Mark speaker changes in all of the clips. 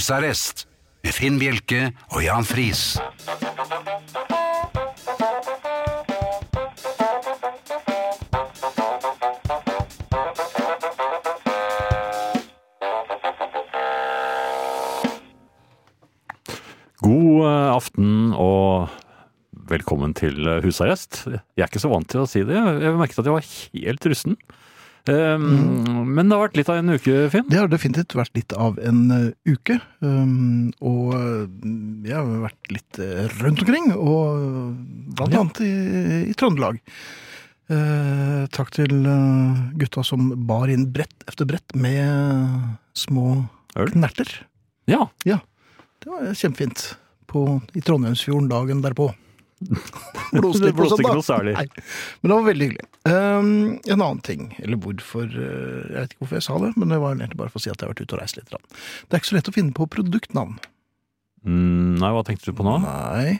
Speaker 1: Husarrest med Finn Bjelke og Jan Friis.
Speaker 2: God eh, aften og velkommen til eh, husarrest. Jeg er ikke så vant til å si det. Jeg merket at jeg var helt rusten. Eh,
Speaker 3: Mm.
Speaker 2: Men det har vært litt av en uke, Finn.
Speaker 3: Det har definitivt vært litt av en eh, uke. Um, og eh, jeg har vært litt eh, rundt omkring, og eh, blant
Speaker 2: Ja.
Speaker 3: annet i, i Trøndelag. Eh, takk til eh, gutta som bar inn brett efter brett med eh, små
Speaker 2: Øl?
Speaker 3: knerter.
Speaker 2: Ja,
Speaker 3: Det var kjempefint. På, I Trondheimsfjorden dagen derpå.
Speaker 2: det blåste ikke
Speaker 3: søndag.
Speaker 2: noe særlig.
Speaker 3: Nei. Men det var veldig hyggelig. Ehm, en annen ting, eller hvorfor eh, Jeg vet ikke hvorfor jeg sa det, men det var egentlig bare for å si at jeg har vært ute og reist litt. grann. Det er ikke så lett å finne på produktnavn.
Speaker 2: Mm, Nei, hva tenkte du på nå?
Speaker 3: Nei.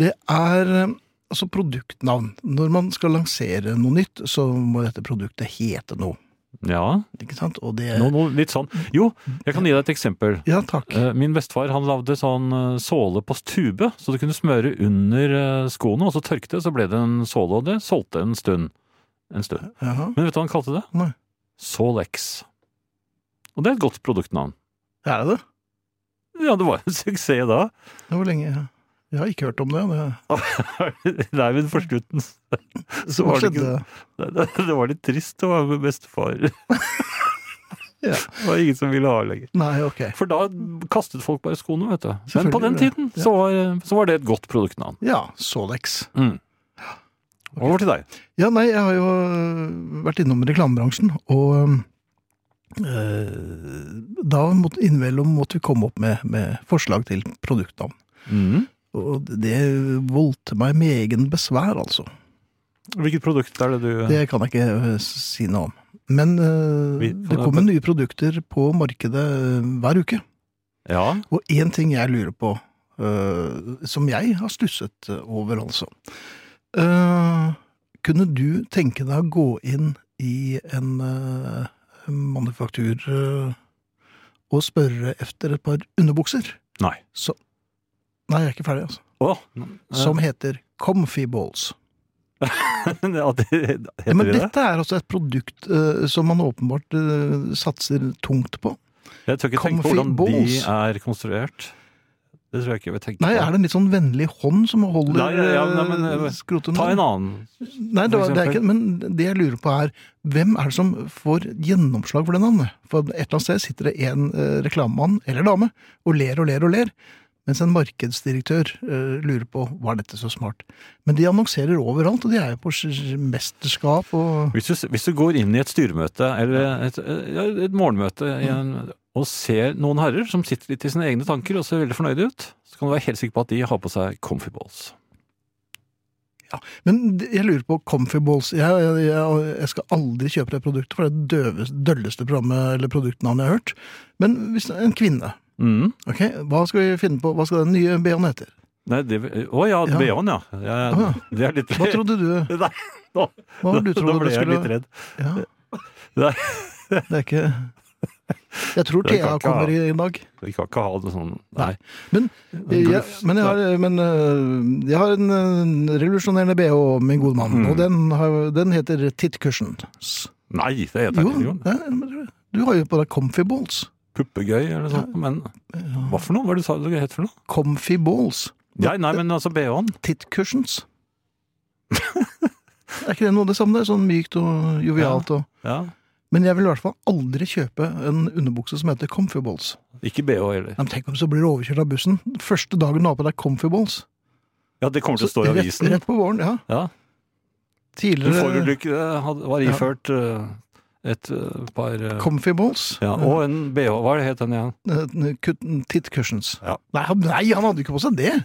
Speaker 3: Det er eh, altså produktnavn. Når man skal lansere noe nytt, så må dette produktet hete noe.
Speaker 2: Ja,
Speaker 3: Ikke sant? Og det
Speaker 2: noe, noe litt sånn. Jo, jeg kan gi deg et eksempel.
Speaker 3: Ja, takk.
Speaker 2: Eh, Min bestefar han lagde sånn eh, såle på tube, så du kunne smøre under eh, skoene, og så tørket det, så ble det en såle, og det solgte en stund. En stund.
Speaker 3: Jaha.
Speaker 2: Men vet du hva han kalte det?
Speaker 3: Nei.
Speaker 2: Solex. Og det er et godt produktnavn.
Speaker 3: Er det det?
Speaker 2: Ja, det var en suksess da.
Speaker 3: Ja, Hvor lenge Jeg har ikke hørt om det. det...
Speaker 2: Nei, men for slutten så
Speaker 3: Hva
Speaker 2: var det ikke
Speaker 3: skjedde?
Speaker 2: Nei, Det det var litt trist å være med bestefar.
Speaker 3: Ja.
Speaker 2: Det var ingen som ville ha lenger.
Speaker 3: Nei, ok.
Speaker 2: For da kastet folk bare skoene, vet du. Men på den
Speaker 3: Selvfølgelig.
Speaker 2: tiden så var, så var det et godt produktnavn.
Speaker 3: Ja, Solex.
Speaker 2: Mm. Over til deg.
Speaker 3: Ja, nei, jeg har jo øh, vært innom reklamebransjen, og øh, da måtte, innimellom måtte vi komme opp med, med forslag til produktnavn.
Speaker 2: Mm.
Speaker 3: Og det voldte meg med egen besvær, altså.
Speaker 2: Hvilket produkt er det du
Speaker 3: Det kan jeg ikke øh, si noe om. Men øh,
Speaker 2: Vi får-
Speaker 3: det kommer nye produkter på markedet øh, hver uke.
Speaker 2: Ja.
Speaker 3: Og én ting jeg lurer på, øh, som jeg har stusset over, altså. Øh, kunne du tenke deg å gå inn i en øh, manufaktur øh, og spørre efter et par underbukser?
Speaker 2: Nei.
Speaker 3: Så, nei, jeg er ikke ferdig, altså.
Speaker 2: Å!
Speaker 3: Som heter Comfy Balls.
Speaker 2: ja, det, Heter
Speaker 3: Ja, men
Speaker 2: de det?
Speaker 3: dette er altså et produkt øh, som man åpenbart øh, satser tungt på.
Speaker 2: Jeg tør ikke tenke på
Speaker 3: Comfy
Speaker 2: hvordan de
Speaker 3: balls.
Speaker 2: er konstruert. Det tror jeg ikke jeg vil tenke
Speaker 3: Nei,
Speaker 2: på.
Speaker 3: er det en litt sånn vennlig hånd som holder
Speaker 2: Nei, ja, ja, nei, men,
Speaker 3: øh,
Speaker 2: øh,
Speaker 3: skrotum?
Speaker 2: Ta en annen.
Speaker 3: Nei, det,
Speaker 2: for
Speaker 3: var- det
Speaker 2: eksempel?
Speaker 3: er ikke, men det jeg lurer på er, hvem er det som får gjennomslag for det navnet? For et eller annet sted sitter det en eh, reklamemann eller dame og ler og ler og ler, mens en markedsdirektør eh, lurer på, var dette så smart? Men de annonserer overalt, og de er jo på s- mesterskap og...
Speaker 2: Hvis du, hvis du går inn i et styremøte eller et, eh, ja, et morgenmøte i en,
Speaker 3: Mm.
Speaker 2: og ser noen herrer som sitter litt i sine egne tanker og ser veldig fornøyde ut, så kan du være helt sikker på at de har på seg comfy balls.
Speaker 3: Men d- jeg lurer på Comfy Balls. Jeg, jeg, jeg, jeg skal aldri kjøpe det produktet, for det er det døves- dølleste programmet eller produktnavnet jeg har hørt. Men hvis det er en kvinne,
Speaker 2: Mm.
Speaker 3: ok, hva skal vi finne på? Hva skal den nye BH-en hete?
Speaker 2: Nei, det, å ja,
Speaker 3: Ja.
Speaker 2: BH-en, ja. Jeg-
Speaker 3: Å ja.
Speaker 2: Det er litt
Speaker 3: Hva trodde du?
Speaker 2: Nei, nå,
Speaker 3: Hva var det du
Speaker 2: nå
Speaker 3: trodde
Speaker 2: ble
Speaker 3: du
Speaker 2: jeg
Speaker 3: skulle
Speaker 2: litt redd.
Speaker 3: Ja.
Speaker 2: Nei.
Speaker 3: Det er ikke Jeg tror
Speaker 2: Det kan
Speaker 3: Thea
Speaker 2: ikke ha-
Speaker 3: kommer i i dag.
Speaker 2: Vi kan ikke ha det sånn. Nei.
Speaker 3: Nei. Men, jeg,
Speaker 2: glufs.
Speaker 3: men, jeg har, men øh, jeg har en øh, revolusjonerende BH, min gode mann,
Speaker 2: Mm.
Speaker 3: og den, har, den heter Tittkursen.
Speaker 2: Nei, det heter
Speaker 3: Jo,
Speaker 2: ikke det.
Speaker 3: ja, men du har jo på deg comfy balls.
Speaker 2: Puppegøy eller noe sånt. Men hva for noe? Hva er det du sa det het for noe?
Speaker 3: Comfy balls.
Speaker 2: Nei, nei, men altså BH-en.
Speaker 3: Tittkursens. er ikke det noe av det samme? Det er sånn mykt og jovialt. Og.
Speaker 2: Ja.
Speaker 3: Men jeg vil i hvert fall aldri kjøpe en underbukse som heter comfy balls.
Speaker 2: Ikke BH heller.
Speaker 3: Nei, men tenk om så blir du overkjørt av bussen. Første dagen du har på deg comfy balls.
Speaker 2: Ja, det kommer til å stå i
Speaker 3: rett,
Speaker 2: avisen.
Speaker 3: Rett på våren, ja.
Speaker 2: Ja. En
Speaker 3: Tidligere
Speaker 2: forulykke hadde- var
Speaker 3: Ja.
Speaker 2: iført eh, et eh, par eh,
Speaker 3: comfy balls.
Speaker 2: ja, Og en BH. Hva er det het den igjen?
Speaker 3: Eh, kut- Tit cushions.
Speaker 2: Ja.
Speaker 3: Nei, han- nei, han hadde ikke på seg det!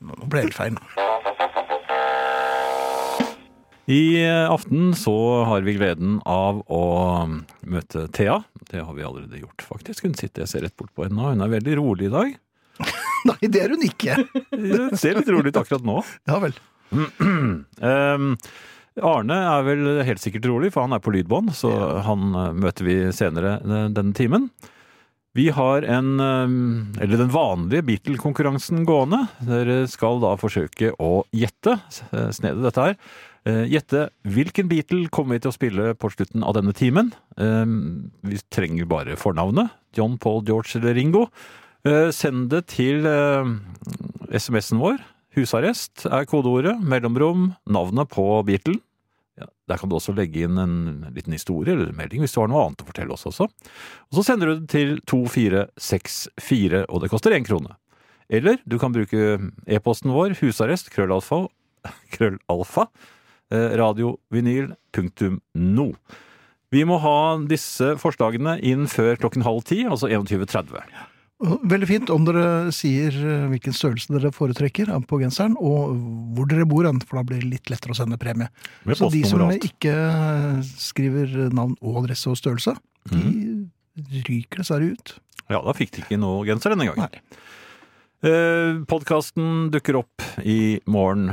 Speaker 3: Nå ble det helt feil. nå.
Speaker 2: I eh, aften så har vi gleden av å mm, møte Thea. Det har vi allerede gjort, faktisk. Hun sitter, jeg ser rett bort på henne nå. Hun er veldig rolig i dag.
Speaker 3: Nei, det er hun ikke!
Speaker 2: Hun ser litt rolig ut akkurat nå.
Speaker 3: Ja vel.
Speaker 2: Ehm, Arne er vel helt sikkert rolig, for han er på lydbånd, så han eh, møter vi senere eh, denne timen. Vi har en, eh, eller den vanlige Beatle-konkurransen gående. Dere skal da forsøke å gjette, eh, snedet dette her. Eh, Gjette hvilken Beatle kommer vi til å spille på slutten av denne timen. Eh, Vi trenger bare fornavnet. John, Paul, George eller Ringo. Eh, Send det til eh, SMS-en vår. Husarrest er kodeordet. Mellomrom, navnet på Beatle. Ja, der kan du også legge inn en liten historie eller en melding hvis du har noe annet å fortelle oss også. Og så sender du det til 2464, og det koster én krone. Eller du kan bruke e-posten vår, husarrest, krøllalfa, krøllalfa, eh, radiovinyl.no. Vi må ha disse forslagene inn før klokken halv ti, altså 21.30.
Speaker 3: Og Veldig fint om dere sier eh, hvilken størrelse dere foretrekker eh, på genseren, og hvor dere bor, hen, for da blir det litt lettere å sende premie.
Speaker 2: Med
Speaker 3: Så de som
Speaker 2: postnummer og alt.
Speaker 3: ikke eh, skriver navn og adresse og størrelse,
Speaker 2: Mhm.
Speaker 3: de ryker dessverre ut.
Speaker 2: Ja, da fikk de ikke noe genser denne gangen.
Speaker 3: Nei.
Speaker 2: Eh, Podkasten dukker opp i morgen,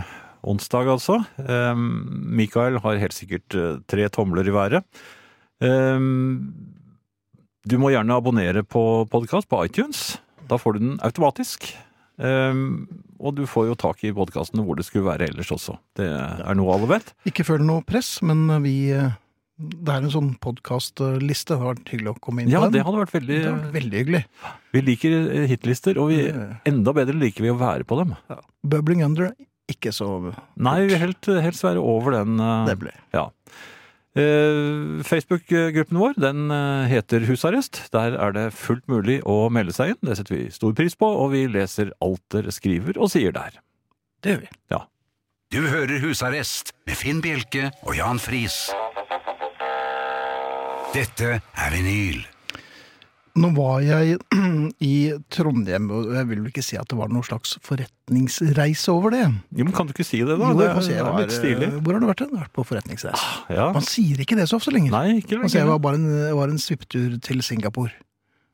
Speaker 2: onsdag altså. Eh, Mikael har helt sikkert eh, tre tomler i været. Eh, du må gjerne abonnere på podkast på iTunes. Da får du den automatisk. Eh, og du får jo tak i podkasten hvor det skulle være ellers også. Det er noe alle vet.
Speaker 3: Ikke føler noe press, men vi eh, Det er en sånn podkastliste. Det har vært hyggelig å komme inn
Speaker 2: Ja,
Speaker 3: på
Speaker 2: det
Speaker 3: den.
Speaker 2: hadde vært veldig
Speaker 3: Det har vært veldig hyggelig.
Speaker 2: Vi liker eh, hitlister, og vi,
Speaker 3: Eh,
Speaker 2: enda bedre liker vi å være på dem.
Speaker 3: Bubbling Under, ikke så
Speaker 2: Nei, vi vil helt, helst være over den. eh,
Speaker 3: Det ble.
Speaker 2: Eh, Facebook-gruppen vår den eh, heter Husarrest. Der er det fullt mulig å melde seg inn. Det setter vi stor pris på, og vi leser alt dere skriver og sier der.
Speaker 3: Det gjør vi.
Speaker 1: Du hører Husarrest med Finn Bjelke og Jan Friis. Dette er vinyl.
Speaker 3: Nå var jeg i Trondheim, og jeg vil vel ikke si at det var noen slags forretningsreise over det.
Speaker 2: Jo, men Kan du ikke si det, da?
Speaker 3: Jo, jeg
Speaker 2: det
Speaker 3: får si, jeg
Speaker 2: er
Speaker 3: var,
Speaker 2: litt stilig.
Speaker 3: eh, Hvor har du vært? hen? Jeg har vært på forretningsreise.
Speaker 2: Ja.
Speaker 3: Man sier ikke det så ofte lenger.
Speaker 2: Nei, ikke
Speaker 3: Altså, jeg
Speaker 2: lenger.
Speaker 3: var bare en, jeg var en svipptur til Singapore.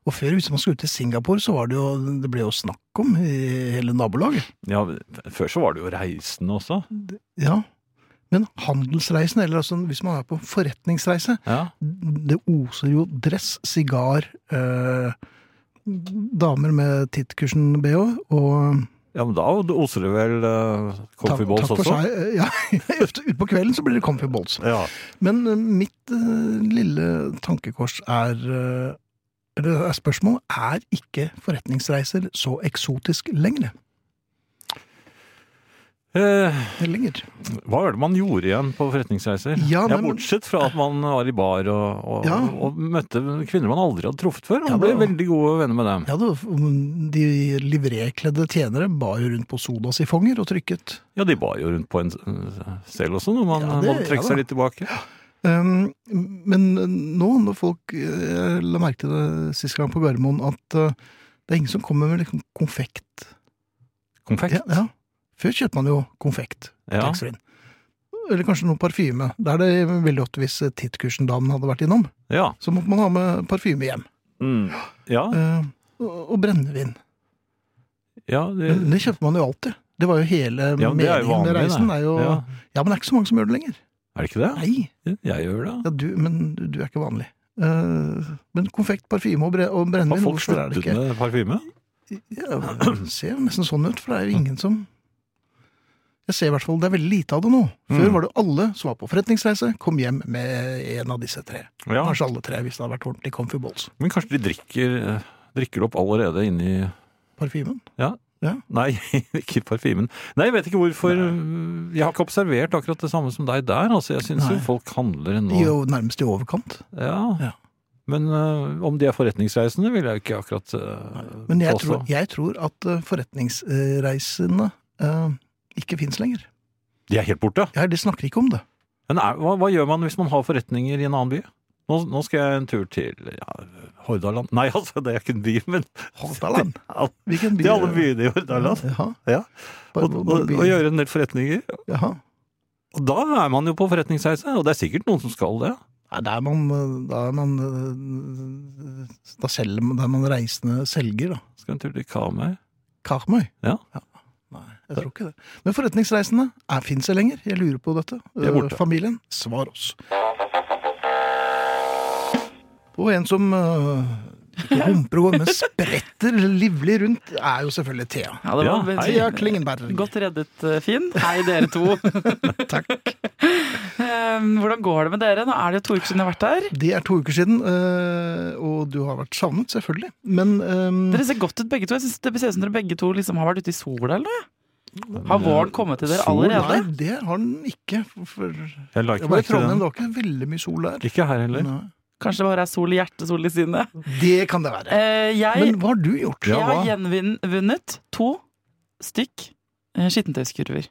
Speaker 3: Og før, hvis man skulle til Singapore, så var det jo Det ble jo snakk om i hele nabolaget.
Speaker 2: Ja, før så var det jo reisende også.
Speaker 3: Ja. Men handelsreisen, eller altså hvis man er på forretningsreise,
Speaker 2: Ja.
Speaker 3: det oser jo dress, sigar, eh, damer med tittkursen bh og
Speaker 2: ja, men da oser det vel uh, comfy balls
Speaker 3: takk for
Speaker 2: også?
Speaker 3: seg. eh, Ja, utpå kvelden så blir det comfy balls.
Speaker 2: Ja.
Speaker 3: Men eh, mitt eh, lille tankekors er eh, Eller er spørsmålet er ikke forretningsreiser så eksotisk lenger?
Speaker 2: Eh,
Speaker 3: lenger?
Speaker 2: hva er det man gjorde igjen på forretningsreiser?
Speaker 3: Ja, nei, men-
Speaker 2: Bortsett fra at man var i bar og, og,
Speaker 3: Ja.
Speaker 2: og møtte kvinner man aldri hadde truffet før. Og
Speaker 3: Ja,
Speaker 2: ble
Speaker 3: det-
Speaker 2: veldig gode venner med dem.
Speaker 3: Ja, det, mm, de livrekledde tjenere bar jo rundt på sodasiffonger og trykket.
Speaker 2: Ja, de bar jo rundt på en eh, selv også, når man
Speaker 3: Ja, det-
Speaker 2: må trekke
Speaker 3: ja da.
Speaker 2: seg litt tilbake.
Speaker 3: Um, men nå, når folk eh, la merke til det sist gang på Gardermoen, at eh, det er ingen som kommer med liksom konfekt.
Speaker 2: Konfekt.
Speaker 3: Ja, ja. Før kjøpte man jo konfekt.
Speaker 2: Ja.
Speaker 3: taxfree-en. Eller kanskje noe parfyme. Det er det veldig ofte hvis tittkursen-damen hadde vært innom.
Speaker 2: Ja.
Speaker 3: Så måtte man ha med parfyme hjem.
Speaker 2: Mm. ja.
Speaker 3: Eh, og, og brennevin.
Speaker 2: ja det,
Speaker 3: Men Det kjøpte man jo alltid. Det var jo hele
Speaker 2: ja, det er
Speaker 3: meningen
Speaker 2: jo vanlig,
Speaker 3: med reisen. Er jo, ja.
Speaker 2: Ja.
Speaker 3: men det er ikke så mange som gjør det lenger.
Speaker 2: Er det ikke det?
Speaker 3: Nei,
Speaker 2: Jeg gjør det.
Speaker 3: ja, du, men du, du er ikke vanlig. Eh, men konfekt, parfyme og, bre og
Speaker 2: Har
Speaker 3: brennevin,
Speaker 2: folk
Speaker 3: hvorfor er det
Speaker 2: sluttet
Speaker 3: ikke
Speaker 2: med parfyme?
Speaker 3: ja, Det ser jo nesten sånn ut, for det er jo ingen som Jeg ser i hvert fall det er veldig lite av det nå. Før
Speaker 2: Mm.
Speaker 3: var det alle som var på forretningsreise, kom hjem med en av disse tre.
Speaker 2: Ja.
Speaker 3: Kanskje alle tre, hvis det hadde vært ordentlig comfy balls.
Speaker 2: Men kanskje de drikker, eh, drikker det opp allerede inni
Speaker 3: Parfymen.
Speaker 2: Nei, ikke parfymen. Nei, jeg vet ikke hvorfor Jeg har ikke observert akkurat det samme som deg der. Altså, jeg syns
Speaker 3: Nei.
Speaker 2: jo folk handler
Speaker 3: De
Speaker 2: nå.
Speaker 3: er jo nærmest i overkant.
Speaker 2: Ja.
Speaker 3: Ja.
Speaker 2: Men eh, om de er forretningsreisende, vil jeg ikke akkurat eh,
Speaker 3: Men jeg
Speaker 2: påstå.
Speaker 3: tror, jeg tror at eh, forretningsreisene eh, ikke fins lenger.
Speaker 2: De er helt borte.
Speaker 3: Ja, De snakker ikke om det.
Speaker 2: Men er, hva, hva gjør man hvis man har forretninger i en annen by? Nå, nå skal jeg en tur til ja, Hordaland Nei, altså, det er ikke en by, men
Speaker 3: Hordaland.
Speaker 2: Ja,
Speaker 3: Hvilken by?
Speaker 2: til alle byene i Hordaland.
Speaker 3: Jaha.
Speaker 2: Ja.
Speaker 3: Bare-
Speaker 2: Og, og,
Speaker 3: bare by.
Speaker 2: og gjøre en del forretninger.
Speaker 3: Jaha.
Speaker 2: Og da er man jo på forretningsreise, og det er sikkert noen som skal det.
Speaker 3: Nei, da er man, eh, da er man eh, Da selger man, da er man reisende selger, da.
Speaker 2: Skal en tur til Karmøy.
Speaker 3: Karmøy.
Speaker 2: Ja.
Speaker 3: Nei, jeg tror ikke det. Men forretningsreisende er fins det lenger? Jeg lurer på dette.
Speaker 2: De er borte.
Speaker 3: Eh, Familien, svar oss. Og en som eh, Ikke humper og går, men spretter livlig rundt, er jo selvfølgelig Thea.
Speaker 4: Ja, det var
Speaker 2: Ja, hei,
Speaker 3: Thea Klingenberg.
Speaker 4: Godt reddet, eh, Finn. Hei, dere to.
Speaker 3: Takk.
Speaker 4: Eh, Hvordan går det med dere? Nå er det jo to uker siden jeg har vært her.
Speaker 3: Det er to uker siden, øh, og du har vært savnet, selvfølgelig. Men ehm, øhm,
Speaker 4: Dere ser godt ut begge to. Jeg synes Det ser ut som dere begge to liksom har vært ute i sola eller noe. Har våren kommet til dere
Speaker 2: Sol?
Speaker 4: allerede?
Speaker 3: Nei, det har den ikke. For, for, det
Speaker 2: Jeg la ikke
Speaker 3: var i
Speaker 2: merke til
Speaker 3: Trondheim, Mm.
Speaker 2: den.
Speaker 3: det var ikke veldig mye sol der.
Speaker 2: Ikke her heller.
Speaker 3: Nei.
Speaker 4: Kanskje det bare er sol i hjertet, sol i sinnet.
Speaker 3: Det kan det være.
Speaker 4: Eh, jeg,
Speaker 3: Men hva har du gjort?
Speaker 4: jeg har gjenvunnet to stykk eh, skittentøyskurver.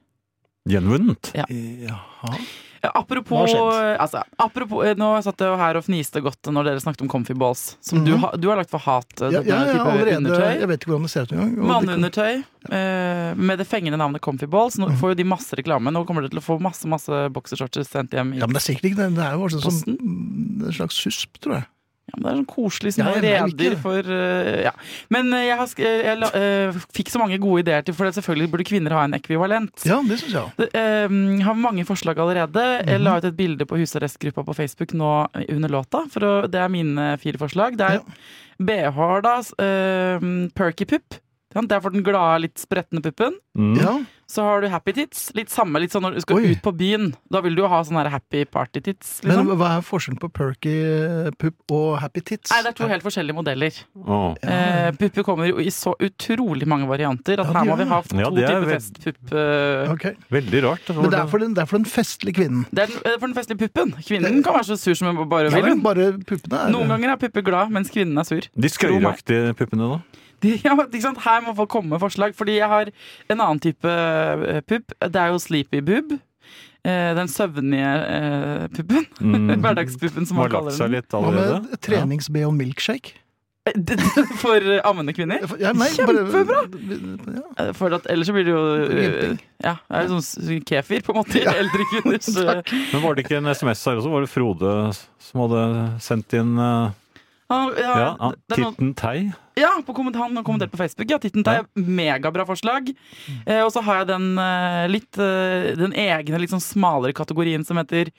Speaker 2: Gjenvunnet.
Speaker 3: Jaha.
Speaker 4: Eh,
Speaker 3: Hva har
Speaker 4: Apropos,
Speaker 3: skjedd?
Speaker 4: eh, altså, apropos eh, Nå satt jeg jo her og fniste godt når dere snakket om comfy balls. Som du,
Speaker 3: Mhm.
Speaker 4: har- du har lagt for hat. eh,
Speaker 3: Ja,
Speaker 4: denne
Speaker 3: ja, ja,
Speaker 4: type
Speaker 3: allerede,
Speaker 4: undertøy.
Speaker 3: jeg vet ikke hvordan det ser ut engang. og det kan-
Speaker 4: Manneundertøy eh, med det fengende navnet Comfy Balls.
Speaker 3: Mm.
Speaker 4: Nå får jo de masse reklame. Nå kommer dere til å få masse masse boksershorter sendt hjem. i-
Speaker 3: Ja, men det er sikkert ikke det. Det er jo også som mm, en slags susp, tror jeg.
Speaker 4: Ja, men det er sånn koselig små
Speaker 3: Ja, jeg merker
Speaker 4: reder
Speaker 3: det.
Speaker 4: for eh, ja. Men eh, jeg, har, sk- eh, jeg la, eh, fikk så mange gode ideer til, for det selvfølgelig burde kvinner ha en ekvivalent.
Speaker 3: Ja, det syns jeg.
Speaker 4: Det, eh, har mange forslag allerede. Jeg
Speaker 3: Mhm.
Speaker 4: la ut et bilde på husarrestgruppa på Facebook nå eh, under låta. For å, det er mine fire forslag. Det er BH-er, da. s- eh, perky pupp. Ja, Det er for den glade, litt spretne puppen.
Speaker 2: Mm.
Speaker 3: Ja,
Speaker 4: Så har du happy tits. Litt samme litt sånn når du skal
Speaker 3: Oi.
Speaker 4: ut på byen. Da vil du jo ha sånne her happy party tits.
Speaker 3: Men
Speaker 4: Liksom.
Speaker 3: hva er forskjellen på perky pupp og happy tits?
Speaker 4: Nei, det er to helt forskjellige modeller.
Speaker 2: Å.
Speaker 4: Eh, pupper kommer jo i så utrolig mange varianter at
Speaker 3: Ja,
Speaker 4: her
Speaker 3: de gjør
Speaker 4: må vi ha
Speaker 2: det.
Speaker 4: to
Speaker 2: Ja, det er
Speaker 4: typer
Speaker 2: vel-
Speaker 4: festpupp. eh.
Speaker 3: Ok.
Speaker 2: Veldig rart.
Speaker 3: Men det er for den, det er for den festlige kvinnen.
Speaker 4: Det er den- eh, for den festlige puppen. Kvinnen kan være så sur som hun bare
Speaker 3: Ja,
Speaker 4: vil.
Speaker 3: men
Speaker 4: hun.
Speaker 3: bare puppene er
Speaker 4: Noen ganger er pupper glad, mens kvinnen er sur.
Speaker 2: De skøyeraktige puppene, da?
Speaker 4: De, ja, men ikke sant? Her må folk komme med forslag, fordi jeg har en annen type eh, pupp. Det er jo sleepy boob. Eh, Den søvnige eh, puppen.
Speaker 2: Mm.
Speaker 4: Hverdagspuppen, som
Speaker 2: Som
Speaker 4: man
Speaker 2: har
Speaker 4: kaller
Speaker 2: lagt seg
Speaker 4: den.
Speaker 2: litt
Speaker 3: Hva
Speaker 2: allerede?
Speaker 3: med trenings-BH milkshake?
Speaker 4: For eh, ammende kvinner.
Speaker 3: Ja, nei, bare- Ja.
Speaker 4: Eh, For at, ellers så blir det jo eh,
Speaker 3: Jemping.
Speaker 4: Ja, det er jo sånn s- kefir, på en måte. Eldre kvinners eh,
Speaker 2: Ja. Men var det ikke en SMS her også? Var det Frode som hadde sendt inn eh,
Speaker 4: han- ja,
Speaker 2: ja,
Speaker 4: det- det er noen-
Speaker 2: Titten Tei?
Speaker 4: ja, på komment- han har kommentert på Facebook. Ja, titten tar jeg. Megabra forslag.
Speaker 2: Mm.
Speaker 4: Eh, og så har jeg den eh, litt eh, Den egne, litt sånn smalere kategorien som heter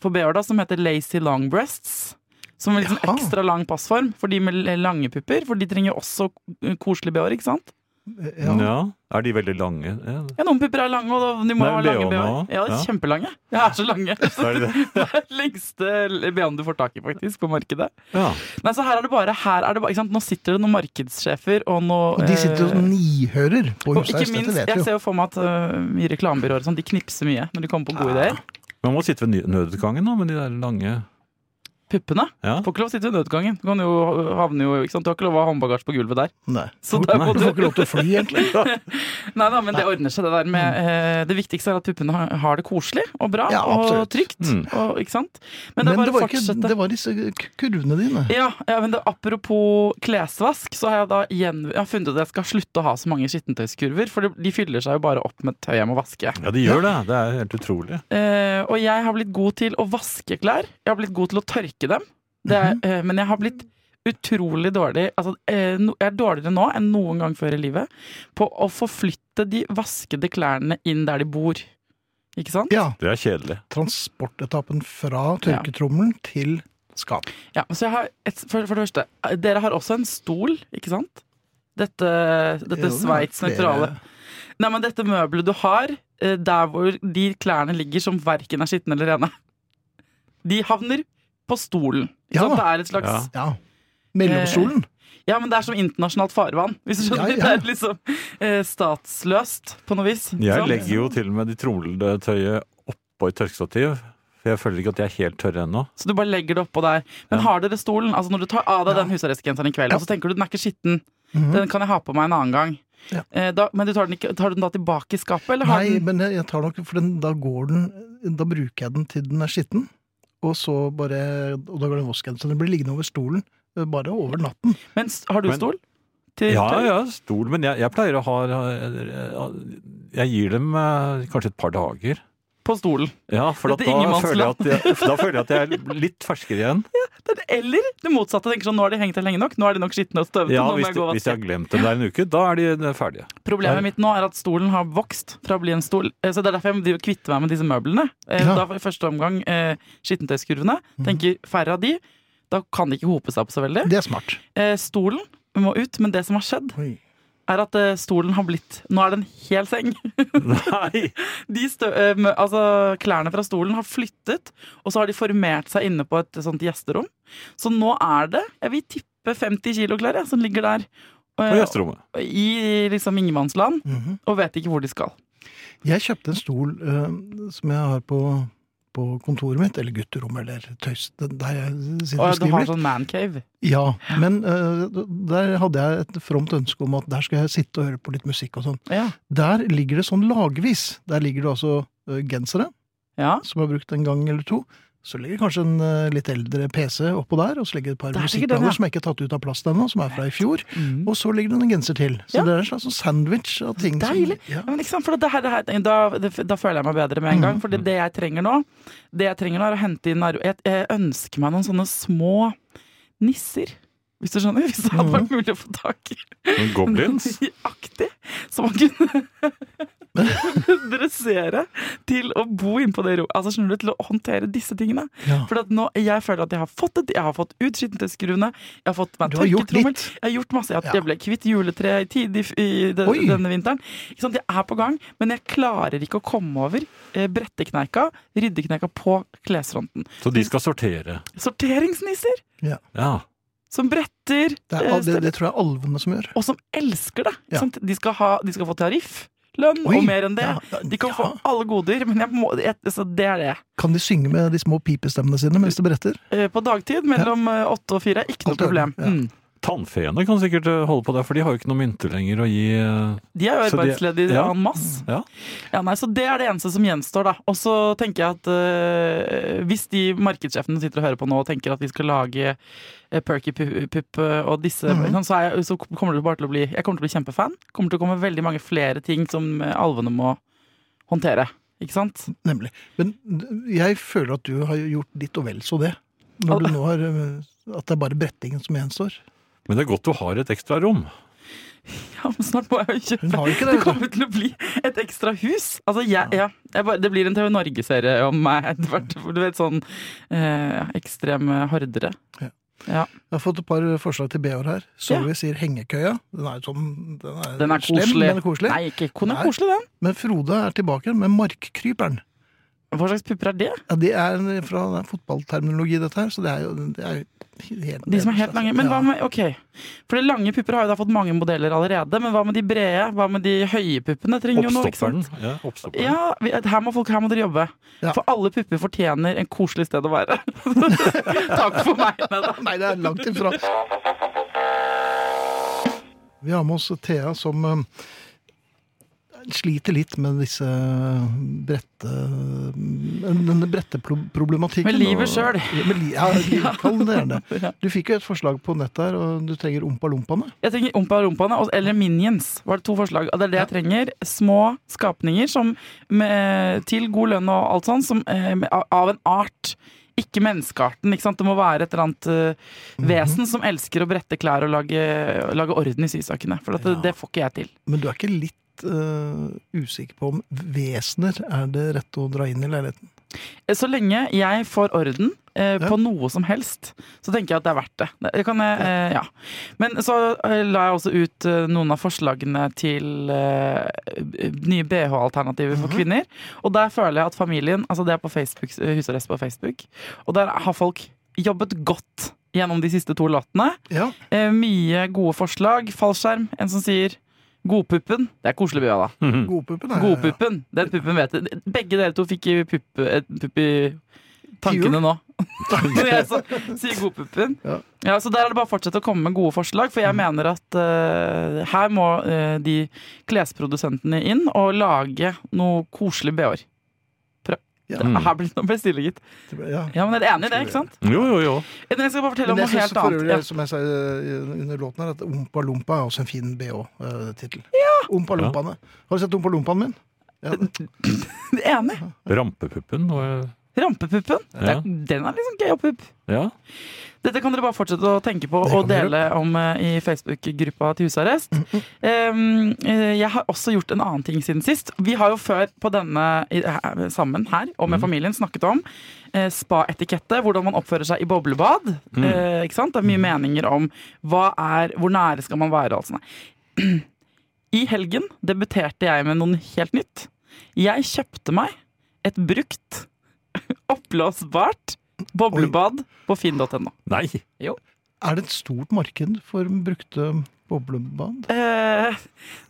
Speaker 4: For BH, da, som heter lazy long breasts. Som er litt sånn
Speaker 3: Jaha.
Speaker 4: ekstra lang passform for de med l- lange pupper. For de trenger jo også k- koselige BH-er, ikke sant?
Speaker 2: Ja.
Speaker 3: Ja.
Speaker 2: Er de veldig lange? Ja.
Speaker 4: Ja, noen pupper er lange, og da- de må
Speaker 2: Nei,
Speaker 4: ha
Speaker 2: BH-ene
Speaker 4: lange BH-er.
Speaker 2: også.
Speaker 4: Ja, de er
Speaker 2: Ja.
Speaker 4: kjempelange. De er så lange.
Speaker 2: Så er det det.
Speaker 4: Lengste BH-en du får tak i, faktisk, på markedet.
Speaker 2: Ja.
Speaker 4: Nei, så her er det bare, her er det bare ikke sant? Nå sitter det noen markedssjefer og noe
Speaker 3: Og de sitter jo
Speaker 4: eh,
Speaker 3: og nihører på
Speaker 4: og
Speaker 3: huset
Speaker 4: ikke
Speaker 3: her, så dette
Speaker 4: minst,
Speaker 3: vet
Speaker 4: jeg
Speaker 3: vi jo.
Speaker 4: ser jo for meg at eh, i reklamebyråer og sånn, de knipser mye når de kommer på gode ideer.
Speaker 2: Man må sitte ved ny- nødutgangen da, med de der lange
Speaker 4: Puppene.
Speaker 2: ja.
Speaker 4: Får ikke lov å sitte ved nødutgangen. Du kan jo havne jo, ikke sant? Du har ikke lov å ha håndbagasje på gulvet der.
Speaker 3: Nei.
Speaker 4: Så der må
Speaker 3: Du
Speaker 4: du
Speaker 3: får ikke lov til å fly, egentlig.
Speaker 4: Nei da, men det ordner seg, det der med eh, Det viktigste er at puppene har- har det koselig og bra
Speaker 3: Mm. Ja,
Speaker 4: og
Speaker 3: absolutt.
Speaker 4: trygt.
Speaker 2: Mm.
Speaker 4: Og, ikke sant?
Speaker 3: Men
Speaker 4: Men det er
Speaker 3: det
Speaker 4: bare å
Speaker 3: var, ikke,
Speaker 4: fortsette.
Speaker 3: det var disse k- kurvene dine.
Speaker 4: Ja, ja, men det, apropos klesvask, så har jeg da gjen, jeg har funnet ut at jeg skal slutte å ha så mange skittentøyskurver, for de, de fyller seg jo bare opp med tøy jeg må vaske.
Speaker 2: ja, de gjør det. Det er helt utrolig.
Speaker 4: Eh, og jeg har blitt god til å vaske klær. Jeg har blitt god til å tørke dem. Det er, eh, men jeg har blitt utrolig dårlig altså, eh, no, Jeg er dårligere nå enn noen gang før i livet på å forflytte de vaskede klærne inn der de bor. Ikke sant?
Speaker 3: Ja.
Speaker 2: Det er kjedelig.
Speaker 3: Transportetappen fra tørketrommelen til skap.
Speaker 4: Ja, så jeg har et, for, for det første, dere har også en stol, ikke sant? Dette,
Speaker 3: Jo,
Speaker 4: dette
Speaker 3: det er
Speaker 4: Sveits
Speaker 3: flere-
Speaker 4: nøytrale. Nei, men dette møbelet du har, eh, der hvor de klærne ligger som verken er skitne eller rene, de havner på stolen. Ikke
Speaker 3: Ja
Speaker 4: sant?
Speaker 3: da.
Speaker 4: Det er et slags ja.
Speaker 3: Ja.
Speaker 4: Eh,
Speaker 3: Mellomstolen.
Speaker 4: men det er som internasjonalt farvann, hvis du skjønner.
Speaker 3: Ja, ja.
Speaker 4: Det er liksom eh, statsløst på noe vis. ikke
Speaker 2: Jeg
Speaker 4: sant?
Speaker 2: legger jo til og med de tromlede tøyet oppå et tørkestativ. For jeg føler ikke at de er helt tørre ennå.
Speaker 4: Så du bare legger det oppå der. Men
Speaker 2: Ja.
Speaker 4: har dere stolen? Altså Når du tar av deg
Speaker 3: Ja.
Speaker 4: den husarrestgenseren i kveld,
Speaker 3: Ja.
Speaker 4: og så tenker du den er ikke skitten,
Speaker 3: Mhm.
Speaker 4: den kan jeg ha på meg en annen gang.
Speaker 3: Ja.
Speaker 4: Eh, da, men du tar den, ikke, tar du den da tilbake i skapet, eller har
Speaker 3: Nei,
Speaker 4: den
Speaker 3: men jeg, jeg tar nok, for den, da går den Da bruker jeg den til den er skitten, og så bare Og da går den i vasken. Så den blir liggende over stolen eh, bare over natten.
Speaker 4: men, s- Har du
Speaker 2: Men-
Speaker 4: stol? Til,
Speaker 2: Ja,
Speaker 4: til-
Speaker 2: ja, stol, men jeg, jeg pleier å ha eh, Jeg gir dem eh, kanskje et par dager.
Speaker 4: På stolen.
Speaker 2: Ja, for at
Speaker 4: Dette
Speaker 2: da, føler jeg
Speaker 4: ingenmannsland.
Speaker 2: at jeg, da føler jeg at jeg er litt ferskere igjen.
Speaker 4: Den- Eller det motsatte. tenker sånn, Nå har de hengt der lenge nok. Nå er de nok skitne og støvete.
Speaker 2: Ja,
Speaker 4: nå må
Speaker 2: hvis,
Speaker 4: jeg gå og
Speaker 2: hvis
Speaker 4: vaske.
Speaker 2: jeg har glemt dem der en uke, da er de ferdige. Nei.
Speaker 4: Problemet mitt nå er at stolen har vokst fra å bli en stol. Eh, Så Det er derfor jeg driver og kvitter meg med disse møblene. Eh,
Speaker 3: Ja.
Speaker 2: Mhm.
Speaker 4: Da for i første omgang eh, skittentøyskurvene. Tenker færre av de. Da kan det ikke hope seg opp så veldig.
Speaker 3: Det er smart.
Speaker 4: Eh, stolen må ut, men det som har skjedd,
Speaker 3: Oi.
Speaker 4: er at eh, stolen har blitt Nå er det en hel seng.
Speaker 2: Nei!
Speaker 4: De stø, eh, mø- altså, klærne fra stolen har flyttet, og så har de formert seg inne på et sånt gjesterom. Så nå er det Jeg vil tippe 50 kilo klær jeg, som ligger der.
Speaker 2: På
Speaker 4: eh,
Speaker 2: gjesterommet.
Speaker 4: I liksom ingenmannsland,
Speaker 3: Mhm.
Speaker 4: og vet ikke hvor de skal.
Speaker 3: Jeg kjøpte en stol eh, som jeg har på, på kontoret mitt, eller gutterommet, eller tøys, der jeg sitter og
Speaker 4: Og du har
Speaker 3: skriver litt.
Speaker 4: sånn mancave.
Speaker 3: Ja, men eh, der hadde jeg et fromt ønske om at der skal jeg sitte og høre på litt musikk og sånn.
Speaker 4: Ja.
Speaker 3: Der ligger det sånn lagvis. Der ligger det altså eh, gensere,
Speaker 4: ja.
Speaker 3: som jeg har brukt en gang eller to. Så ligger kanskje en eh, litt eldre PC oppå der, og så ligger det et par
Speaker 4: Der ligger den,
Speaker 3: musikkplaner
Speaker 4: ja.
Speaker 3: som jeg ikke har tatt ut av plasten ennå, som er fra i fjor.
Speaker 4: Mm.
Speaker 3: Og så ligger det en genser til. Så
Speaker 4: Ja.
Speaker 3: det er en slags sånn sandwich av ting. som-
Speaker 4: Deilig.
Speaker 3: Ja.
Speaker 4: Ja, men ikke sant, for det her, det her, da, det, da føler jeg meg bedre med en gang. For det, det jeg trenger nå, Det jeg trenger nå er å hente inn arv... Jeg, jeg ønsker meg noen sånne små nisser. Hvis du skjønner? Hvis det hadde vært mulig å få tak i.
Speaker 2: Noen goblins.
Speaker 4: Aktig. Som man kunne dressere til å bo innpå det rommet. Altså, skjønner du, til å håndtere disse tingene.
Speaker 3: Ja.
Speaker 4: For at nå, jeg føler at jeg har fått det. Jeg har fått ut skittentøyskruene. Jeg har fått meg
Speaker 3: Du har gjort
Speaker 4: tørketrommel.
Speaker 3: litt.
Speaker 4: Jeg har gjort masse. Jeg,
Speaker 3: Ja.
Speaker 4: jeg ble kvitt juletreet i tid i, f- i den,
Speaker 3: Oi.
Speaker 4: denne vinteren. Ikke sant? Jeg er på gang, men jeg klarer ikke å komme over eh, brettekneika, ryddekneika på klesfronten.
Speaker 2: Så de skal sortere.
Speaker 4: Sorteringsnisser
Speaker 2: Ja.
Speaker 4: som bretter,
Speaker 3: Det,
Speaker 4: eh,
Speaker 3: er, det, det tror jeg er alvene som gjør.
Speaker 4: og som elsker det. Ikke
Speaker 3: Ja.
Speaker 4: sant? De, skal ha, de skal få tarifflønn
Speaker 3: Oi,
Speaker 4: og mer enn det.
Speaker 3: ja, ja,
Speaker 4: De kan
Speaker 3: ja.
Speaker 4: få alle goder, men jeg må, jeg, så det er det.
Speaker 3: Kan de synge med de små pipestemmene sine mens de beretter?
Speaker 4: Eh, På dagtid mellom eh, åtte og fire, ikke noe
Speaker 3: Alt i orden,
Speaker 4: problem.
Speaker 3: ja.
Speaker 4: Mm.
Speaker 2: Tannfeene kan sikkert eh, holde på der, for de har jo ikke noen mynter lenger å gi. eh,
Speaker 4: De er
Speaker 2: Så
Speaker 4: jo
Speaker 2: de-
Speaker 4: arbeidsledige
Speaker 2: ja.
Speaker 4: en masse.
Speaker 2: Ja.
Speaker 4: Ja, nei, så det er det eneste som gjenstår, da. Og så tenker jeg at eh, hvis de markedssjefene som sitter og hører på nå og tenker at vi skal lage eh, Perky Pu- Pup eh, og disse,
Speaker 3: Mhm.
Speaker 4: så, er jeg, så kommer det bare til å bli Jeg kommer til å bli kjempefan. Kommer til å komme veldig mange flere ting som eh, alvene må håndtere. Ikke sant?
Speaker 3: Nemlig. Men eh, jeg føler at du har gjort ditt og vel så det. Når du nå har eh, At det er bare brettingen som gjenstår.
Speaker 2: Men det er godt du har et ekstra rom.
Speaker 4: Ja, men snart må jeg jo
Speaker 3: Hun
Speaker 4: kjøpe
Speaker 3: har jo ikke det.
Speaker 4: Det
Speaker 3: vet du.
Speaker 4: kommer til å bli et ekstra hus. Altså, jeg, ja, jeg bare, det blir en TV Norge-serie om meg etter hvert. Du vet, sånn eh, ekstreme hardere.
Speaker 3: Jeg har fått et par forslag til B-år her.
Speaker 4: Ja.
Speaker 3: Solveig sier hengekøya. Den er, sånn, den er,
Speaker 4: Den er
Speaker 3: slem,
Speaker 4: koselig.
Speaker 3: men koselig.
Speaker 4: Nei, ikke hun er
Speaker 3: Nei.
Speaker 4: koselig, den.
Speaker 3: Men Frode er tilbake med markkryperen.
Speaker 4: Hva slags pupper er det?
Speaker 3: Ja, det er en- fra det er fotballterminologi, dette her. Så det er jo, det er jo helt altså.
Speaker 4: De som er helt lange. Men hva
Speaker 3: Ja.
Speaker 4: med Ok. For de lange pupper har jo da fått mange modeller allerede. Men hva med de brede? Hva med de høye puppene? Trenger jo noe, ikke
Speaker 2: Oppstopperen.
Speaker 4: sant?
Speaker 2: Ja, oppstopperen.
Speaker 4: Ja, vi, her, må folk, her må dere jobbe.
Speaker 3: Ja.
Speaker 4: For alle pupper fortjener en koselig sted å være. Takk for meg. Neida.
Speaker 3: Nei, det er langt ifra. Vi har med oss Thea som eh, sliter litt med disse brette... um, Denne bretteproblematikken.
Speaker 4: Med livet
Speaker 3: og-
Speaker 4: sjøl.
Speaker 3: Med li- Ja, li- kall det gjerne det.
Speaker 4: Ja.
Speaker 3: Du fikk jo et forslag på nett her, og du trenger ompa-lompaene.
Speaker 4: Jeg trenger Ompa Rompaene, og- eller Minions. var det to forslag. Og det er det jeg trenger. Små skapninger som, med, til god lønn og alt sånt, som, eh, med- av en art. Ikke menneskearten. ikke sant? Det må være et eller annet eh, vesen som elsker å brette klær og lage, lage orden i sysakene. For at det, det får ikke jeg til.
Speaker 3: Men du er ikke litt eh, usikker på om vesener er det rette å dra inn i leiligheten?
Speaker 4: Eh, Så lenge jeg får orden eh,
Speaker 3: Ja.
Speaker 4: på noe som helst, så tenker jeg at det er verdt det. det det kan jeg, eh, ja. Men så eh, la jeg også ut eh, noen av forslagene til eh, b- nye BH-alternativer for kvinner. Og der føler jeg at familien Altså det er på Facebook, eh, husarrest på Facebook. Og der har folk jobbet godt gjennom de siste to låtene.
Speaker 3: Ja.
Speaker 4: Eh, mye gode forslag. Fallskjerm. En som sier 'Godpuppen'. Det er koselig, Bjørn, da.
Speaker 2: Mhm.
Speaker 3: Godpuppen er
Speaker 4: Godpuppen. Den puppen vet jeg. Begge dere to fikk i pupp, et pupp i tankene nå. Når jeg så, sier godpuppen. Ja.
Speaker 3: Ja. Mm.
Speaker 4: så Der er det bare å fortsette å komme med gode forslag, for jeg mener at eh, her må eh, de klesprodusentene inn og lage noe koselig BH-er.
Speaker 3: Ja.
Speaker 4: Det Her blir det noe bestille, gitt.
Speaker 3: Ja.
Speaker 4: Ja, men dere er enig i det, ikke sant?
Speaker 2: Jo, jo, jo.
Speaker 4: Men Jeg skal bare
Speaker 3: Men
Speaker 4: fortelle om
Speaker 3: jeg
Speaker 4: noe
Speaker 3: synes
Speaker 4: helt
Speaker 3: for
Speaker 4: annet.
Speaker 3: øvrig,
Speaker 4: Ja.
Speaker 3: som jeg sa eh, under låten her, at Ompa Lompa er også en fin BH-tittel. Ompa Lompaene. Har du sett Ompa Lompaen min? Ja,
Speaker 4: Enig.
Speaker 2: Rampepuppen. Og,
Speaker 4: Rampepuppen.
Speaker 2: Ja.
Speaker 4: Det er- Den er liksom gøy å puppe.
Speaker 2: Ja.
Speaker 4: Dette kan dere bare fortsette å tenke på
Speaker 3: Det kan
Speaker 4: og
Speaker 3: dere.
Speaker 4: dele om eh, i Facebook-gruppa til husarrest. Um, eh, jeg har også gjort en annen ting siden sist. Vi har jo før på denne i, her, sammen her og
Speaker 3: Mhm.
Speaker 4: med familien snakket om eh, spa-etikette, hvordan man oppfører seg i boblebad.
Speaker 3: Mm.
Speaker 4: Eh, ikke sant? Det er mye meninger om hva er, hvor nære skal man være. og alt sånt. I helgen debuterte jeg med noe helt nytt. Jeg kjøpte meg et brukt, oppblåsbart boblebad på finn.no.
Speaker 2: Nei.
Speaker 3: Er det et stort marked for brukte boblebad?
Speaker 4: Eh,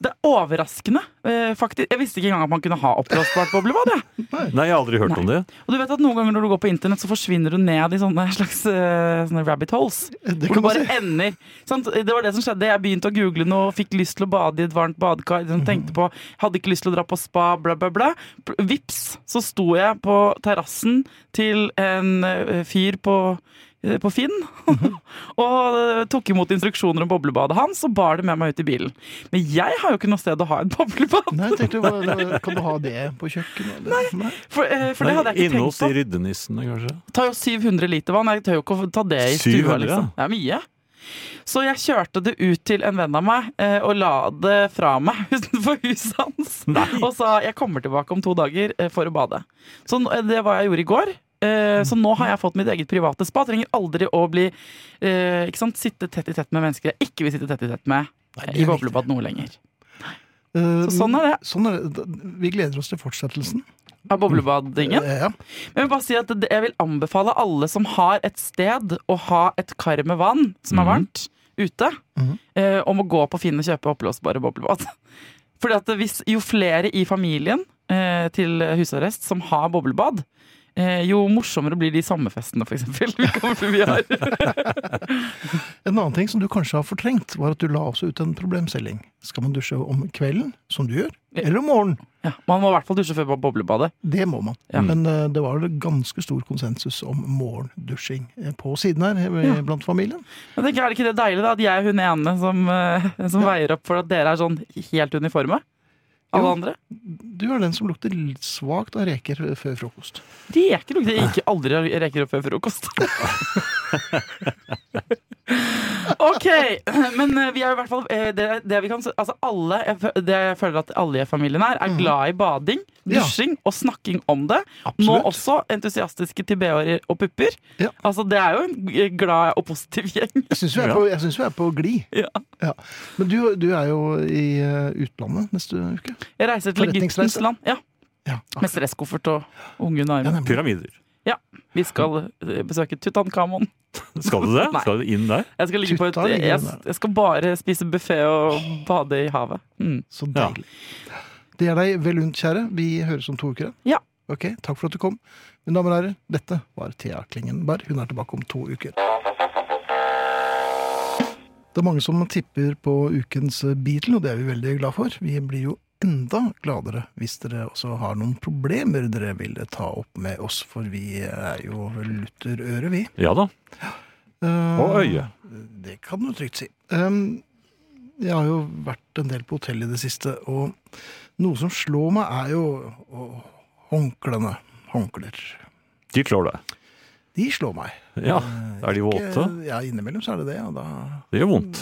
Speaker 4: det er overraskende, eh, faktisk. Jeg visste ikke engang at man kunne ha oppblåsbart boblebad. jeg.
Speaker 2: Nei, jeg har aldri hørt om det.
Speaker 4: Og du vet at Noen ganger når du går på internett, så forsvinner du ned i sånne slags eh, sånne rabbit holes.
Speaker 3: Det
Speaker 4: Hvor
Speaker 3: kan man
Speaker 4: du bare
Speaker 3: si.
Speaker 4: ender. Sant? Det var det som skjedde. Jeg begynte å google noe, fikk lyst til å bade i et varmt badekar.
Speaker 3: Mhm.
Speaker 4: liksom Tenkte på, Hadde ikke lyst til å dra på spa, bla, bla, bla. Pl- Vips, så sto jeg på terrassen til en eh, fyr på eh, på Finn,
Speaker 3: Mhm.
Speaker 4: og eh, tok imot instruksjoner om boblebadet hans og bar det med meg ut i bilen. Men jeg har jo ikke noe sted å ha et boblebad!
Speaker 3: Nei, jeg tenkte, hva- hva- Kan du ha det på kjøkkenet? eller? Nei.
Speaker 4: For, eh, for det hadde jeg ikke
Speaker 2: Inne
Speaker 4: tenkt
Speaker 2: hos
Speaker 4: på.
Speaker 2: de ryddenissene, kanskje.
Speaker 4: tar jo 700 liter vann. Jeg tør jo ikke å ta det i stua,
Speaker 2: 700,
Speaker 4: liksom. Det er mye. Så jeg kjørte det ut til en venn av meg eh, og la det fra meg utenfor huset hans.
Speaker 2: Nei.
Speaker 4: Og sa jeg kommer tilbake om to dager eh, for å bade. Så n- eh, det var jeg gjorde i går. Eh, Så nå har jeg fått mitt eget private spa. Trenger aldri å bli eh, ikke sant, sitte tett i tett med mennesker jeg ikke vil sitte tett i tett med eh,
Speaker 3: det er
Speaker 4: i boblebad noe lenger.
Speaker 3: Eh,
Speaker 4: Så sånn er det.
Speaker 3: Sånn er det. Da- Vi gleder oss til fortsettelsen.
Speaker 4: Av boblebadingen.
Speaker 3: Eh, Ja.
Speaker 4: Men jeg vil bare si at det- jeg vil anbefale alle som har et sted å ha et kar med vann som er
Speaker 2: Mhm.
Speaker 4: varmt, ute,
Speaker 3: Mhm.
Speaker 4: eh, om å gå på Finn og kjøpe oppblåsbare boblebad. Fordi at hvis, jo flere i familien eh, til husarrest som har boblebad, eh, jo morsommere blir de sommerfestene, for eksempel. Vi kommer til vi har.
Speaker 3: En annen ting som du kanskje har fortrengt, var at du la også ut en problemstilling. Skal man dusje om kvelden, som du gjør, eller om morgenen?
Speaker 4: Ja, man må i hvert fall dusje før boblebadet.
Speaker 3: Det må man.
Speaker 4: Ja.
Speaker 3: Men eh, det var ganske stor konsensus om morgendusjing eh, på siden her eh,
Speaker 4: Ja.
Speaker 3: blant familien.
Speaker 4: Men tenker, jeg, er det ikke det deilig da, at jeg er hun ene som, eh, som veier opp for at dere er sånn helt uniforme? Alle
Speaker 3: Jo.
Speaker 4: andre?
Speaker 3: Du er den som lukter litt svakt av reker eh, før frokost.
Speaker 4: Reker lukter jeg ikke aldri reker opp før frokost. ok, men eh, vi er i hvert fall eh, det, det vi kan, s- altså alle, jeg fø- Det jeg føler at alle i familien her er glad i bading,
Speaker 3: Mm. Ja.
Speaker 4: dusjing og snakking om det. Nå
Speaker 3: Absolutt.
Speaker 4: også entusiastiske til BH-er og pupper.
Speaker 3: Ja.
Speaker 4: Altså Det er jo en g- glad og positiv gjeng.
Speaker 3: Jeg syns vi er på, jeg synes vi er på glid.
Speaker 4: Ja.
Speaker 3: Ja. Men du, du er jo i eh, utlandet neste uke.
Speaker 4: Jeg reiser til
Speaker 3: Forretningsreise.
Speaker 4: Egyptens land ja,
Speaker 3: Ja,
Speaker 4: med stresskoffert og ungen i
Speaker 3: Ja,
Speaker 4: armen.
Speaker 3: nemlig.
Speaker 2: Pyramider.
Speaker 4: Vi skal eh, besøke Tutankhamon.
Speaker 2: Skal du det?
Speaker 4: Nei.
Speaker 2: Skal du inn der?
Speaker 4: Jeg skal, ligge på et,
Speaker 3: Tutta ligger
Speaker 4: jeg,
Speaker 3: under.
Speaker 4: jeg skal bare spise buffé og bade i havet. Mm.
Speaker 3: Så
Speaker 2: Ja.
Speaker 3: deilig. Det er deg vel unt, kjære. Vi høres om to uker. da.
Speaker 4: Ja.
Speaker 3: Ok, Takk for at du kom. Mine damer og herrer, dette var Thea Klingenberg. Hun er tilbake om to uker. Det er mange som tipper på ukens Beatle, og det er vi veldig glad for. Vi blir jo enda gladere hvis dere også har noen problemer dere vil ta opp med oss, for vi er jo lutterøre, vi.
Speaker 2: Ja da. Og
Speaker 3: Eh,
Speaker 2: øye.
Speaker 3: Det kan du trygt si. Ehm, jeg har jo vært en del på hotell i det siste, og noe som slår meg, er jo å, håndklærne. Håndklær.
Speaker 2: De klår deg.
Speaker 3: De slår meg.
Speaker 2: Ja. Er de våte?
Speaker 3: Eh, Ja, innimellom så er det det. Og da,
Speaker 2: Det gjør vondt.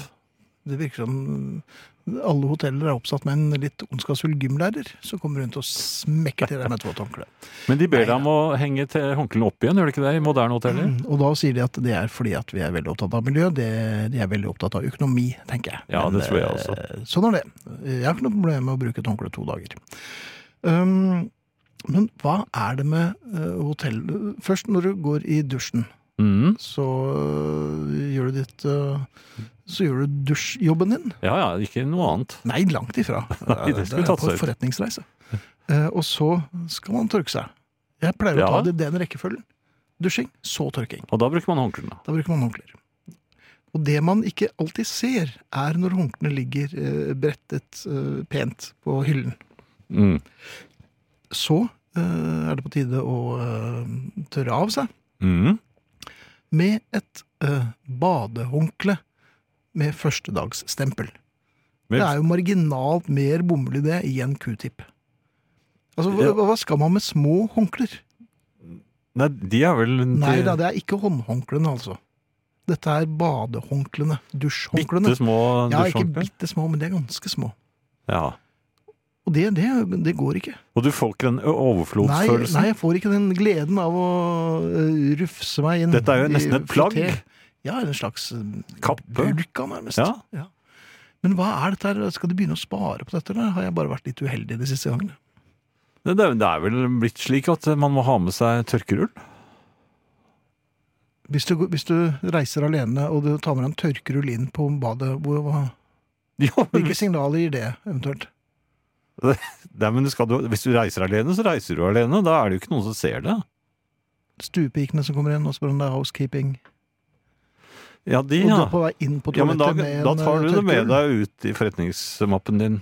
Speaker 3: det virker som alle hoteller er oppsatt med en litt ondskapsfull gymlærer som kommer rundt og smekker til deg med et vått håndkle.
Speaker 2: Men de ber deg om å henge til håndklærne opp igjen, gjør de ikke det? I moderne
Speaker 4: Mm.
Speaker 2: hoteller?
Speaker 3: Mm, Og da sier de at det er fordi at vi er veldig opptatt av miljø. Det, de er veldig opptatt av økonomi, tenker jeg.
Speaker 2: Ja, det tror jeg også.
Speaker 3: eh, Sånn er det. Jeg har ikke noe problem med å bruke et håndkle to dager. Um, men hva er det med eh, hotell Først når du går i dusjen,
Speaker 2: Mm.
Speaker 3: så eh, gjør du ditt eh, Så gjør du dusjjobben din.
Speaker 2: Ja ja, ikke noe annet.
Speaker 3: Nei, langt ifra.
Speaker 2: Nei, det skulle
Speaker 3: er
Speaker 2: tatt
Speaker 3: på
Speaker 2: seg ut.
Speaker 3: forretningsreise. Eh, og så skal man tørke seg. Jeg pleier å
Speaker 2: Ja.
Speaker 3: ta det i den rekkefølgen. Dusjing, så tørking.
Speaker 2: Og da bruker man håndklærne.
Speaker 3: Da bruker man håndklær. Og det man ikke alltid ser, er når håndklærne ligger eh, brettet eh, pent på hyllen.
Speaker 2: Mm.
Speaker 3: Så eh, er det på tide å eh, tørre av seg
Speaker 2: Mm.
Speaker 3: med et eh, badehåndkle med førstedagsstempel.
Speaker 2: Men-
Speaker 3: Det er jo marginalt mer bomull i det i en q-tip. Altså, hva, hva skal man med små håndklær?
Speaker 2: Nei, de er vel
Speaker 3: Nei da, det er ikke håndhåndklærne, altså. Dette er badehåndklærne. Dusjhåndklærne.
Speaker 2: bitte små
Speaker 3: Ja, ikke
Speaker 2: dusjhåndklær.
Speaker 3: bitte små, men de er ganske små.
Speaker 2: Ja.
Speaker 3: Og det, det, det går ikke.
Speaker 2: Og du får ikke den
Speaker 3: Nei, nei,
Speaker 2: overflodsfølelsen.
Speaker 3: jeg får ikke den gleden av å øh, rufse meg inn.
Speaker 2: Dette er jo
Speaker 3: i
Speaker 2: nesten et plagg.
Speaker 3: frotté. Ja, en slags øh,
Speaker 2: Kappe.
Speaker 3: burka, nærmest.
Speaker 2: Ja.
Speaker 3: Ja. Men hva er dette her? Skal de begynne å spare på dette, eller har jeg bare vært litt uheldig de siste gangene?
Speaker 2: Det, er- det er vel blitt slik at man må ha med seg tørkerull?
Speaker 3: Hvis du, hvis du reiser alene og du tar med deg en tørkerull inn på badet, hvor, hva,
Speaker 2: Jo,
Speaker 3: hvilke signaler gir det eventuelt?
Speaker 2: Nei, men du skal, du- hvis du reiser alene, så reiser du alene. Da er det jo ikke noen som ser det.
Speaker 3: Stuepikene som kommer inn og spør om det er housekeeping.
Speaker 2: Ja, de,
Speaker 3: Og du
Speaker 2: ja.
Speaker 3: er på vei inn på
Speaker 2: ja men da,
Speaker 3: toalettet med
Speaker 2: da
Speaker 3: en eh,
Speaker 2: tar du det med
Speaker 3: tørkerull.
Speaker 2: deg ut i forretningsmappen din.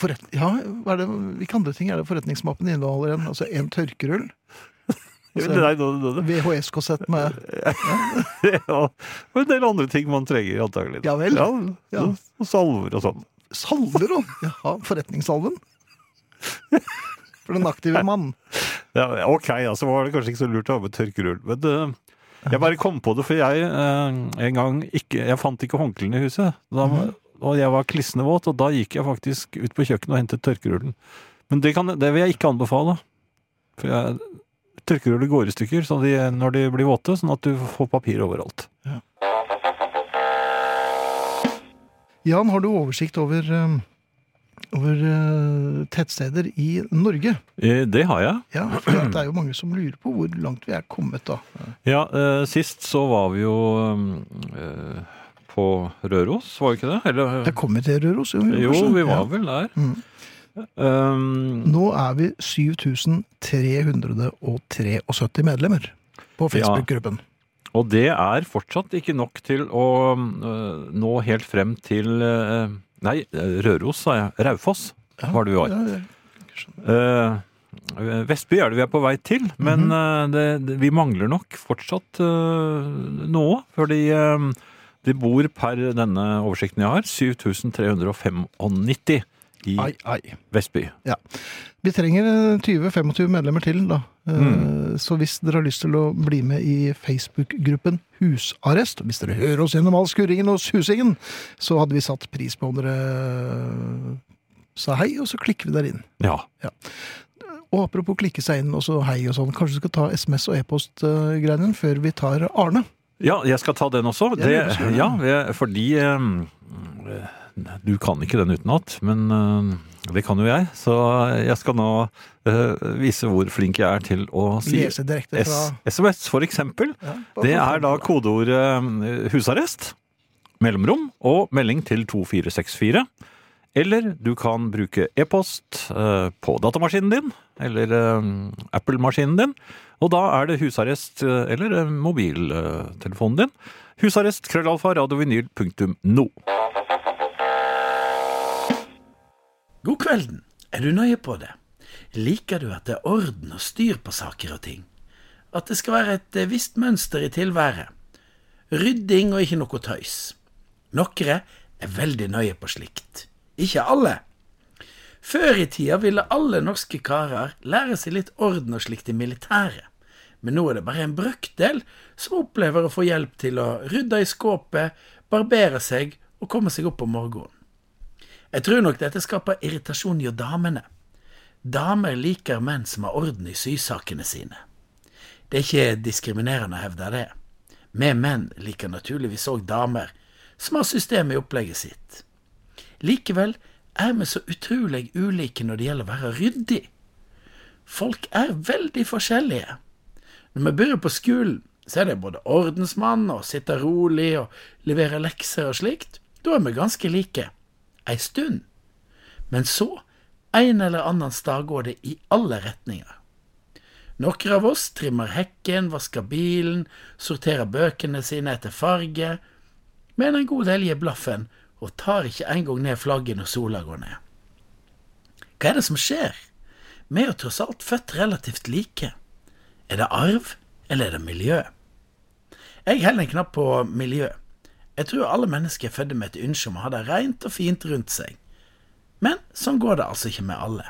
Speaker 3: Forret, ja, hva er det, hvilke andre ting er det forretningsmappen inneholder igjen? Altså en tørkerull? Altså, Og så
Speaker 2: Nei, da- da- da-
Speaker 3: VHS-kossett med
Speaker 2: ja, og en del andre ting man trenger, antagelig.
Speaker 3: Ja vel. Ja.
Speaker 2: og- Og salver og sånn.
Speaker 3: salver og Jaha, forretningssalven. For den aktive mann.
Speaker 2: Ja, ok, ja, så var det kanskje ikke så lurt å ha med tørkerull. Men eh, jeg bare kom på det, for jeg eh, en gang ikke Jeg fant ikke håndklærne i huset. Da, Og jeg var klissende våt, og da gikk jeg faktisk ut på kjøkkenet og hentet tørkerullen. Men det, kan, det vil jeg ikke anbefale. For jeg, tørkeruller går i stykker så de, når de blir våte, sånn at du får papir overalt.
Speaker 3: Jan, har du oversikt over, eh, over eh, tettsteder i Norge?
Speaker 2: Eh, Det har jeg.
Speaker 3: Ja, for det er jo mange som lurer på hvor langt vi er kommet da.
Speaker 2: Ja, eh, sist så var vi jo eh, på Røros, var vi ikke det? Eller,
Speaker 3: Jeg kommer til Røros. Jo,
Speaker 2: jo,
Speaker 3: kanskje.
Speaker 2: vi var
Speaker 3: Ja.
Speaker 2: vel der.
Speaker 3: Mm.
Speaker 2: Um,
Speaker 3: Nå er vi 7373 medlemmer på Facebook-gruppen.
Speaker 2: Og det er fortsatt ikke nok til å øh, nå helt frem til øh, Nei, Røros, sa jeg. Raufoss
Speaker 3: Ja,
Speaker 2: var det vi var.
Speaker 3: Ja, ja. Mhm.
Speaker 2: Eh, Vestby er det vi er på vei til, men eh, det, det, vi mangler nok fortsatt eh, noe. Fordi eh, det bor per denne oversikten jeg har, 7395 i
Speaker 3: Ai, ai.
Speaker 2: Vestby.
Speaker 3: Vi trenger eh, 20-25 medlemmer til, da. Eh,
Speaker 2: Mm.
Speaker 3: Så hvis dere har lyst til å bli med i Facebook-gruppen Husarrest, og hvis dere hører oss gjennom all skurringen og susingen, så hadde vi satt pris på om dere eh, sa hei, og så klikker vi der inn.
Speaker 2: Ja.
Speaker 3: Og apropos klikke seg inn og så hei og sånn, kanskje du skal ta SMS og e-post-greinen før vi tar Arne?
Speaker 2: Ja, jeg skal ta den også. Det,
Speaker 3: Ja, du skal gjøre det.
Speaker 2: ja, jeg- fordi eh, Du kan ikke den utenat, men eh, det kan jo jeg. Så jeg skal nå eh, vise hvor flink jeg er til å si
Speaker 3: Lese direkte
Speaker 2: S
Speaker 3: fra
Speaker 2: SMS, for eksempel.
Speaker 3: ja,
Speaker 2: Det er da kodeordet eh, husarrest, mellomrom og melding til 2464. Eller du kan bruke e-post eh, på datamaskinen din, eller eh, Apple-maskinen din. Og da er det husarrest, eh, eller eh, mobiltelefonen din. Husarrest krøllalfa radiovinyl.no.
Speaker 5: God kvelden. Er du nøye på det? Liker du at det er orden og styr på saker og ting? At det skal være et eh, visst mønster i tilværet? Rydding og ikke noe tøys. Nokre er veldig nøye på slikt. Ikke alle. Før i tida ville alle norske karer lære seg litt orden og slikt i militæret. Men nå er det bare en brøkdel som opplever å få hjelp til å rydde i skåpet, barbere seg og komme seg opp om morgenen. Jeg tror nok dette skaper irritasjon hos damene. Damer liker menn som har orden i sysakene sine. Det er ikke diskriminerende å hevde det. Vi menn liker naturligvis òg damer som har system i opplegget sitt. Likevel er vi så utrolig ulike når det gjelder å være ryddig. Folk er veldig forskjellige. Når vi begynner på skolen, så er det både ordensmann og sitte rolig og levere lekser og slikt. Da er vi ganske like. Ei stund. Men så, en eller annen stad går det i alle retninger. Noen av oss trimmer hekken, vasker bilen, sorterer bøkene sine etter farge, men en god del gir blaffen og tar ikke engang ned flagget når sola går ned. Hva er det som skjer? Vi er jo tross alt født relativt like. Er det arv, eller er det miljø? Jeg heller en knapp på miljø. Jeg tror alle mennesker er født med et ønske om å ha det rent og fint rundt seg. Men sånn går det altså ikke med alle.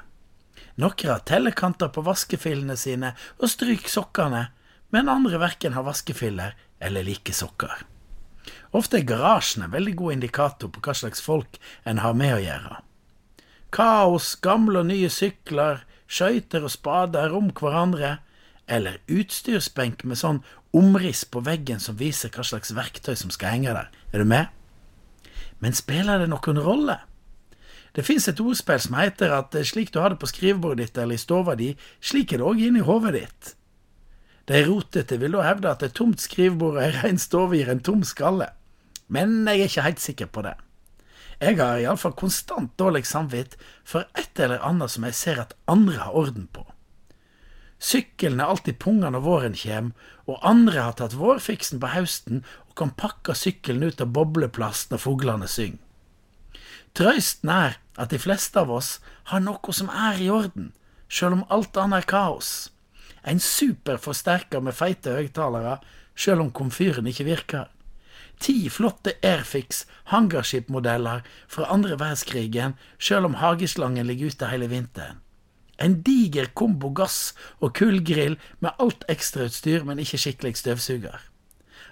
Speaker 5: Noen har tellekanter på vaskefillene sine og stryker sokkene, men andre verken har vaskefiller eller like sokker. Ofte er garasjen en veldig god indikator på hva slags folk en har med å gjøre. Kaos, gamle og nye sykler, skøyter og spader om hverandre, eller utstyrsbenk med sånn omriss på veggen som viser hva slags verktøy som skal henge der. Er du med? Men spiller det noen rolle? Det fins et ordspill som heter at slik du har det på skrivebordet ditt eller i stova di, slik er det òg inni hodet ditt. De rotete vil da hevde at et tomt skrivebord og ei rein stove gir en tom skalle, men jeg er ikke helt sikker på det. Jeg har iallfall konstant dårlig samvitt for et eller annet som jeg ser at andre har orden på. Sykkelen er alltid pungen når våren kjem, og andre har tatt vårfiksen på hausten og kan pakke sykkelen ut av bobleplast når fuglene synger. Trøysten er at de fleste av oss har noe som er i orden, sjøl om alt annet er kaos. En superforsterker med feite høyttalere, sjøl om komfyren ikke virker. Ti flotte Airfix hangarskipmodeller fra andre verdenskrigen, sjøl om hageslangen ligger ute hele vinteren. En diger kombo gass og kullgrill med alt ekstrautstyr, men ikke skikkelig støvsuger.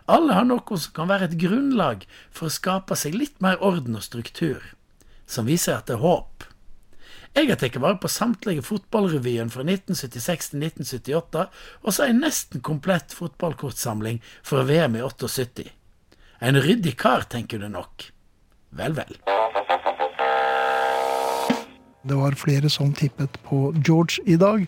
Speaker 5: Alle har noe som kan være et grunnlag for å skape seg litt mer orden og struktur, som viser at det er håp. Jeg har tatt vare på samtlige fotballrevyen fra 1976 til 1978, og så ei nesten komplett fotballkortsamling fra VM i 78. En ryddig kar, tenker du nok. Vel, vel.
Speaker 3: Det var flere som tippet på George i dag.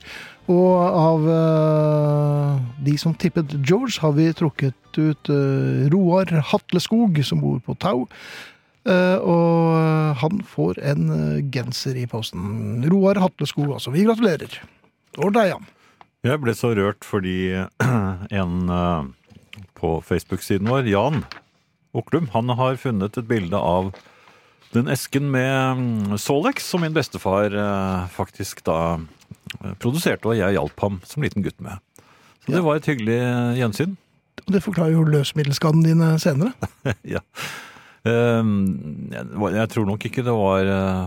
Speaker 3: Og av eh, de som tippet George, har vi trukket ut eh, Roar Hatleskog, som bor på Tau. Eh, og han får en eh, genser i posten. Roar Hatleskog, altså. Vi gratulerer. Og deg, Jan.
Speaker 2: Jeg ble så rørt fordi en eh, på Facebook-siden vår, Jan Oklum, han har funnet et bilde av den esken med mm, Solex som min bestefar eh, faktisk da eh, produserte, og jeg hjalp ham som liten gutt med. Så det var et hyggelig eh, gjensyn.
Speaker 3: Og det forklarer jo løsemiddelskadene dine senere.
Speaker 2: ja. Ehm, jeg, det var- jeg tror nok ikke det var eh,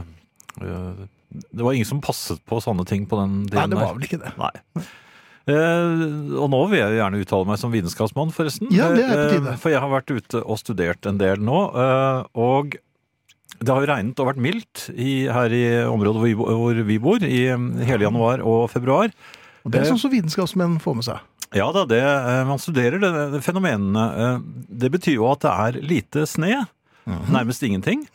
Speaker 2: eh, Det var ingen som passet på sånne ting på den
Speaker 3: Nei,
Speaker 2: tiden. der.
Speaker 3: det var vel ikke det.
Speaker 2: Nei. Eh, og nå vil jeg gjerne uttale meg som vitenskapsmann, forresten.
Speaker 3: Ja, det er på tide.
Speaker 2: Eh, for jeg har vært ute og studert en del nå. eh, og det har jo regnet og vært mildt i, her i området hvor vi, bo- hvor vi bor, i eh, hele januar og februar.
Speaker 3: Og det er
Speaker 2: Eh,
Speaker 3: sånn som vitenskapsmenn får med seg.
Speaker 2: ja da, det, eh, man studerer det, det fenomenene. Eh, Det betyr jo at det er lite sne. Nærmest ingenting.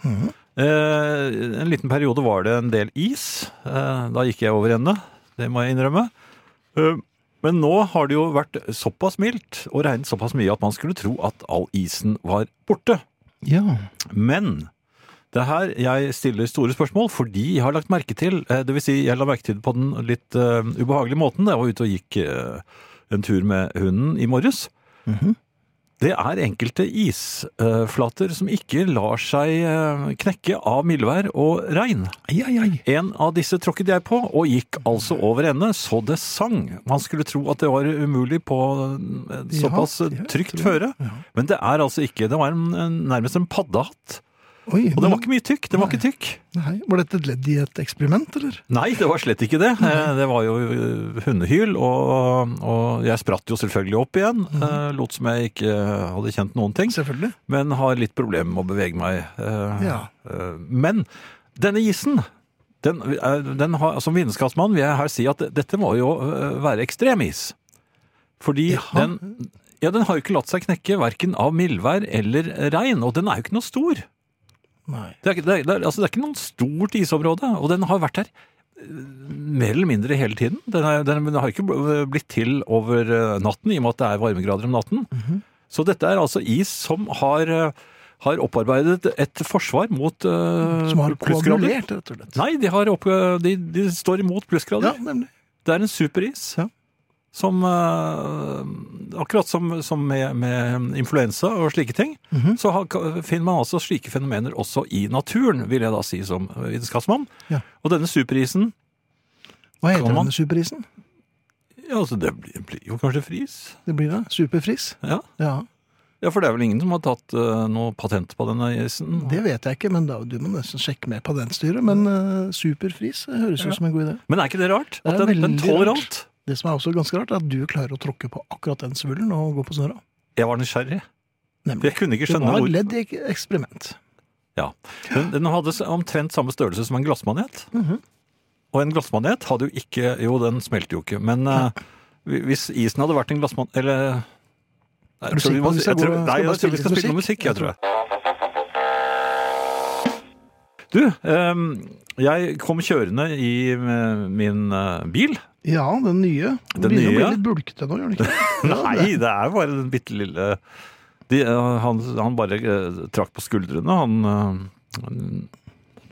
Speaker 2: Eh, En liten periode var det en del is. Eh, Da gikk jeg over ende, det må jeg innrømme. Eh, Men nå har det jo vært såpass mildt og regnet såpass mye at man skulle tro at all isen var borte.
Speaker 3: Ja.
Speaker 2: Men det er her jeg stiller store spørsmål, fordi jeg har lagt merke til eh, Det vil si, jeg la merke til det på den litt eh, ubehagelige måten da jeg var ute og gikk eh, en tur med hunden i morges.
Speaker 3: Mhm.
Speaker 2: Det er enkelte isflater som ikke lar seg eh, knekke av mildvær og regn.
Speaker 3: Ai, ai, ai. Mm.
Speaker 2: En av disse tråkket jeg på, og gikk altså over ende, så det sang. Man skulle tro at det var umulig på eh,
Speaker 3: Ja,
Speaker 2: såpass eh,
Speaker 3: jeg
Speaker 2: trygt
Speaker 3: tror-
Speaker 2: føre, men det er altså ikke. Det var en, en, nærmest en paddehatt.
Speaker 3: Oi,
Speaker 2: Og den var ikke mye tykk. Den var ikke tykk.
Speaker 3: nei, var dette et ledd i et eksperiment, eller?
Speaker 2: Nei, det var slett ikke det. Eh, Det var jo eh, hundehyl, og, og jeg spratt jo selvfølgelig opp igjen. Eh, Lot som jeg ikke eh, hadde kjent noen ting,
Speaker 3: Selvfølgelig.
Speaker 2: men har litt problemer med å bevege meg. eh,
Speaker 3: Ja.
Speaker 2: eh, Men denne isen, den, eh, den har, som vitenskapsmann vil jeg her si at dette må jo eh, være ekstrem is. Fordi
Speaker 3: Jaha.
Speaker 2: den, ja, den har jo ikke latt seg knekke verken av mildvær eller regn, og den er jo ikke noe stor.
Speaker 3: Nei.
Speaker 2: Det er, ikke- det, er, det, er, altså, det er ikke noe stort isområde, og den har vært her eh, mer eller mindre hele tiden. Den, er, den, den har ikke bl- eh, blitt til over eh, natten, i og med at det er varmegrader om natten.
Speaker 3: Mhm.
Speaker 2: Så dette er altså is som har, eh, har opparbeidet et forsvar mot eh,
Speaker 3: Som har
Speaker 2: plussgrader.
Speaker 3: koagulert, rett og slett.
Speaker 2: Nei, de, har opp, eh, de, de står imot plussgrader.
Speaker 3: Ja, nemlig.
Speaker 2: Det er en superis.
Speaker 3: Ja.
Speaker 2: Som eh, Akkurat som, som med, med influensa og slike ting,
Speaker 3: Mhm.
Speaker 2: så har, finner man altså slike fenomener også i naturen, vil jeg da si som vitenskapsmann.
Speaker 3: Ja.
Speaker 2: Og denne superisen
Speaker 3: Hva heter
Speaker 2: Kan man-
Speaker 3: denne superisen?
Speaker 2: ja, altså Det blir, blir jo kanskje fris?
Speaker 3: Det blir det. Superfris.
Speaker 2: Ja.
Speaker 3: Ja.
Speaker 2: Ja, for det er vel ingen som har tatt eh, noe patent på denne isen?
Speaker 3: Det vet jeg ikke, men da, du må nesten sjekke med patentstyret. Men eh, superfris høres jo som en god idé.
Speaker 2: Men er ikke det rart?
Speaker 3: Det
Speaker 2: At
Speaker 3: er
Speaker 2: den, den
Speaker 3: veldig
Speaker 2: tåler
Speaker 3: rart.
Speaker 2: alt?
Speaker 3: Det som er også ganske rart, er at du klarer å tråkke på akkurat den svullen og gå på snøra.
Speaker 2: Jeg var nysgjerrig.
Speaker 3: Nemlig.
Speaker 2: Jeg kunne ikke
Speaker 3: Det
Speaker 2: skjønne
Speaker 3: var
Speaker 2: hvor
Speaker 3: et ledd i ek- eksperiment.
Speaker 2: Ja. Den, den hadde s- omtrent samme størrelse som en glassmanet.
Speaker 3: Mhm.
Speaker 2: Og en glassmanet hadde jo ikke Jo, den smelte jo ikke, men eh, hvi- hvis isen hadde vært en glassmanet Eller Nei,
Speaker 3: Er du
Speaker 2: jeg tror vi
Speaker 3: sikker på
Speaker 2: må-
Speaker 3: at vi
Speaker 2: jeg
Speaker 3: skal gå-
Speaker 2: tror-
Speaker 3: skal
Speaker 2: nei,
Speaker 3: bare
Speaker 2: jeg tror vi
Speaker 3: spille
Speaker 2: skal
Speaker 3: litt
Speaker 2: spille noe
Speaker 3: musikk?
Speaker 2: musikk, jeg tror jeg. Du, ehm, jeg kom kjørende i eh, min eh, bil.
Speaker 3: Ja, den nye. Den
Speaker 2: Den
Speaker 3: begynner å bli
Speaker 2: nye?
Speaker 3: litt bulkete nå, gjør den ikke?
Speaker 2: Nei, det er jo bare den bitte lille de, eh, han, han bare eh, trakk på skuldrene. Han, eh, han,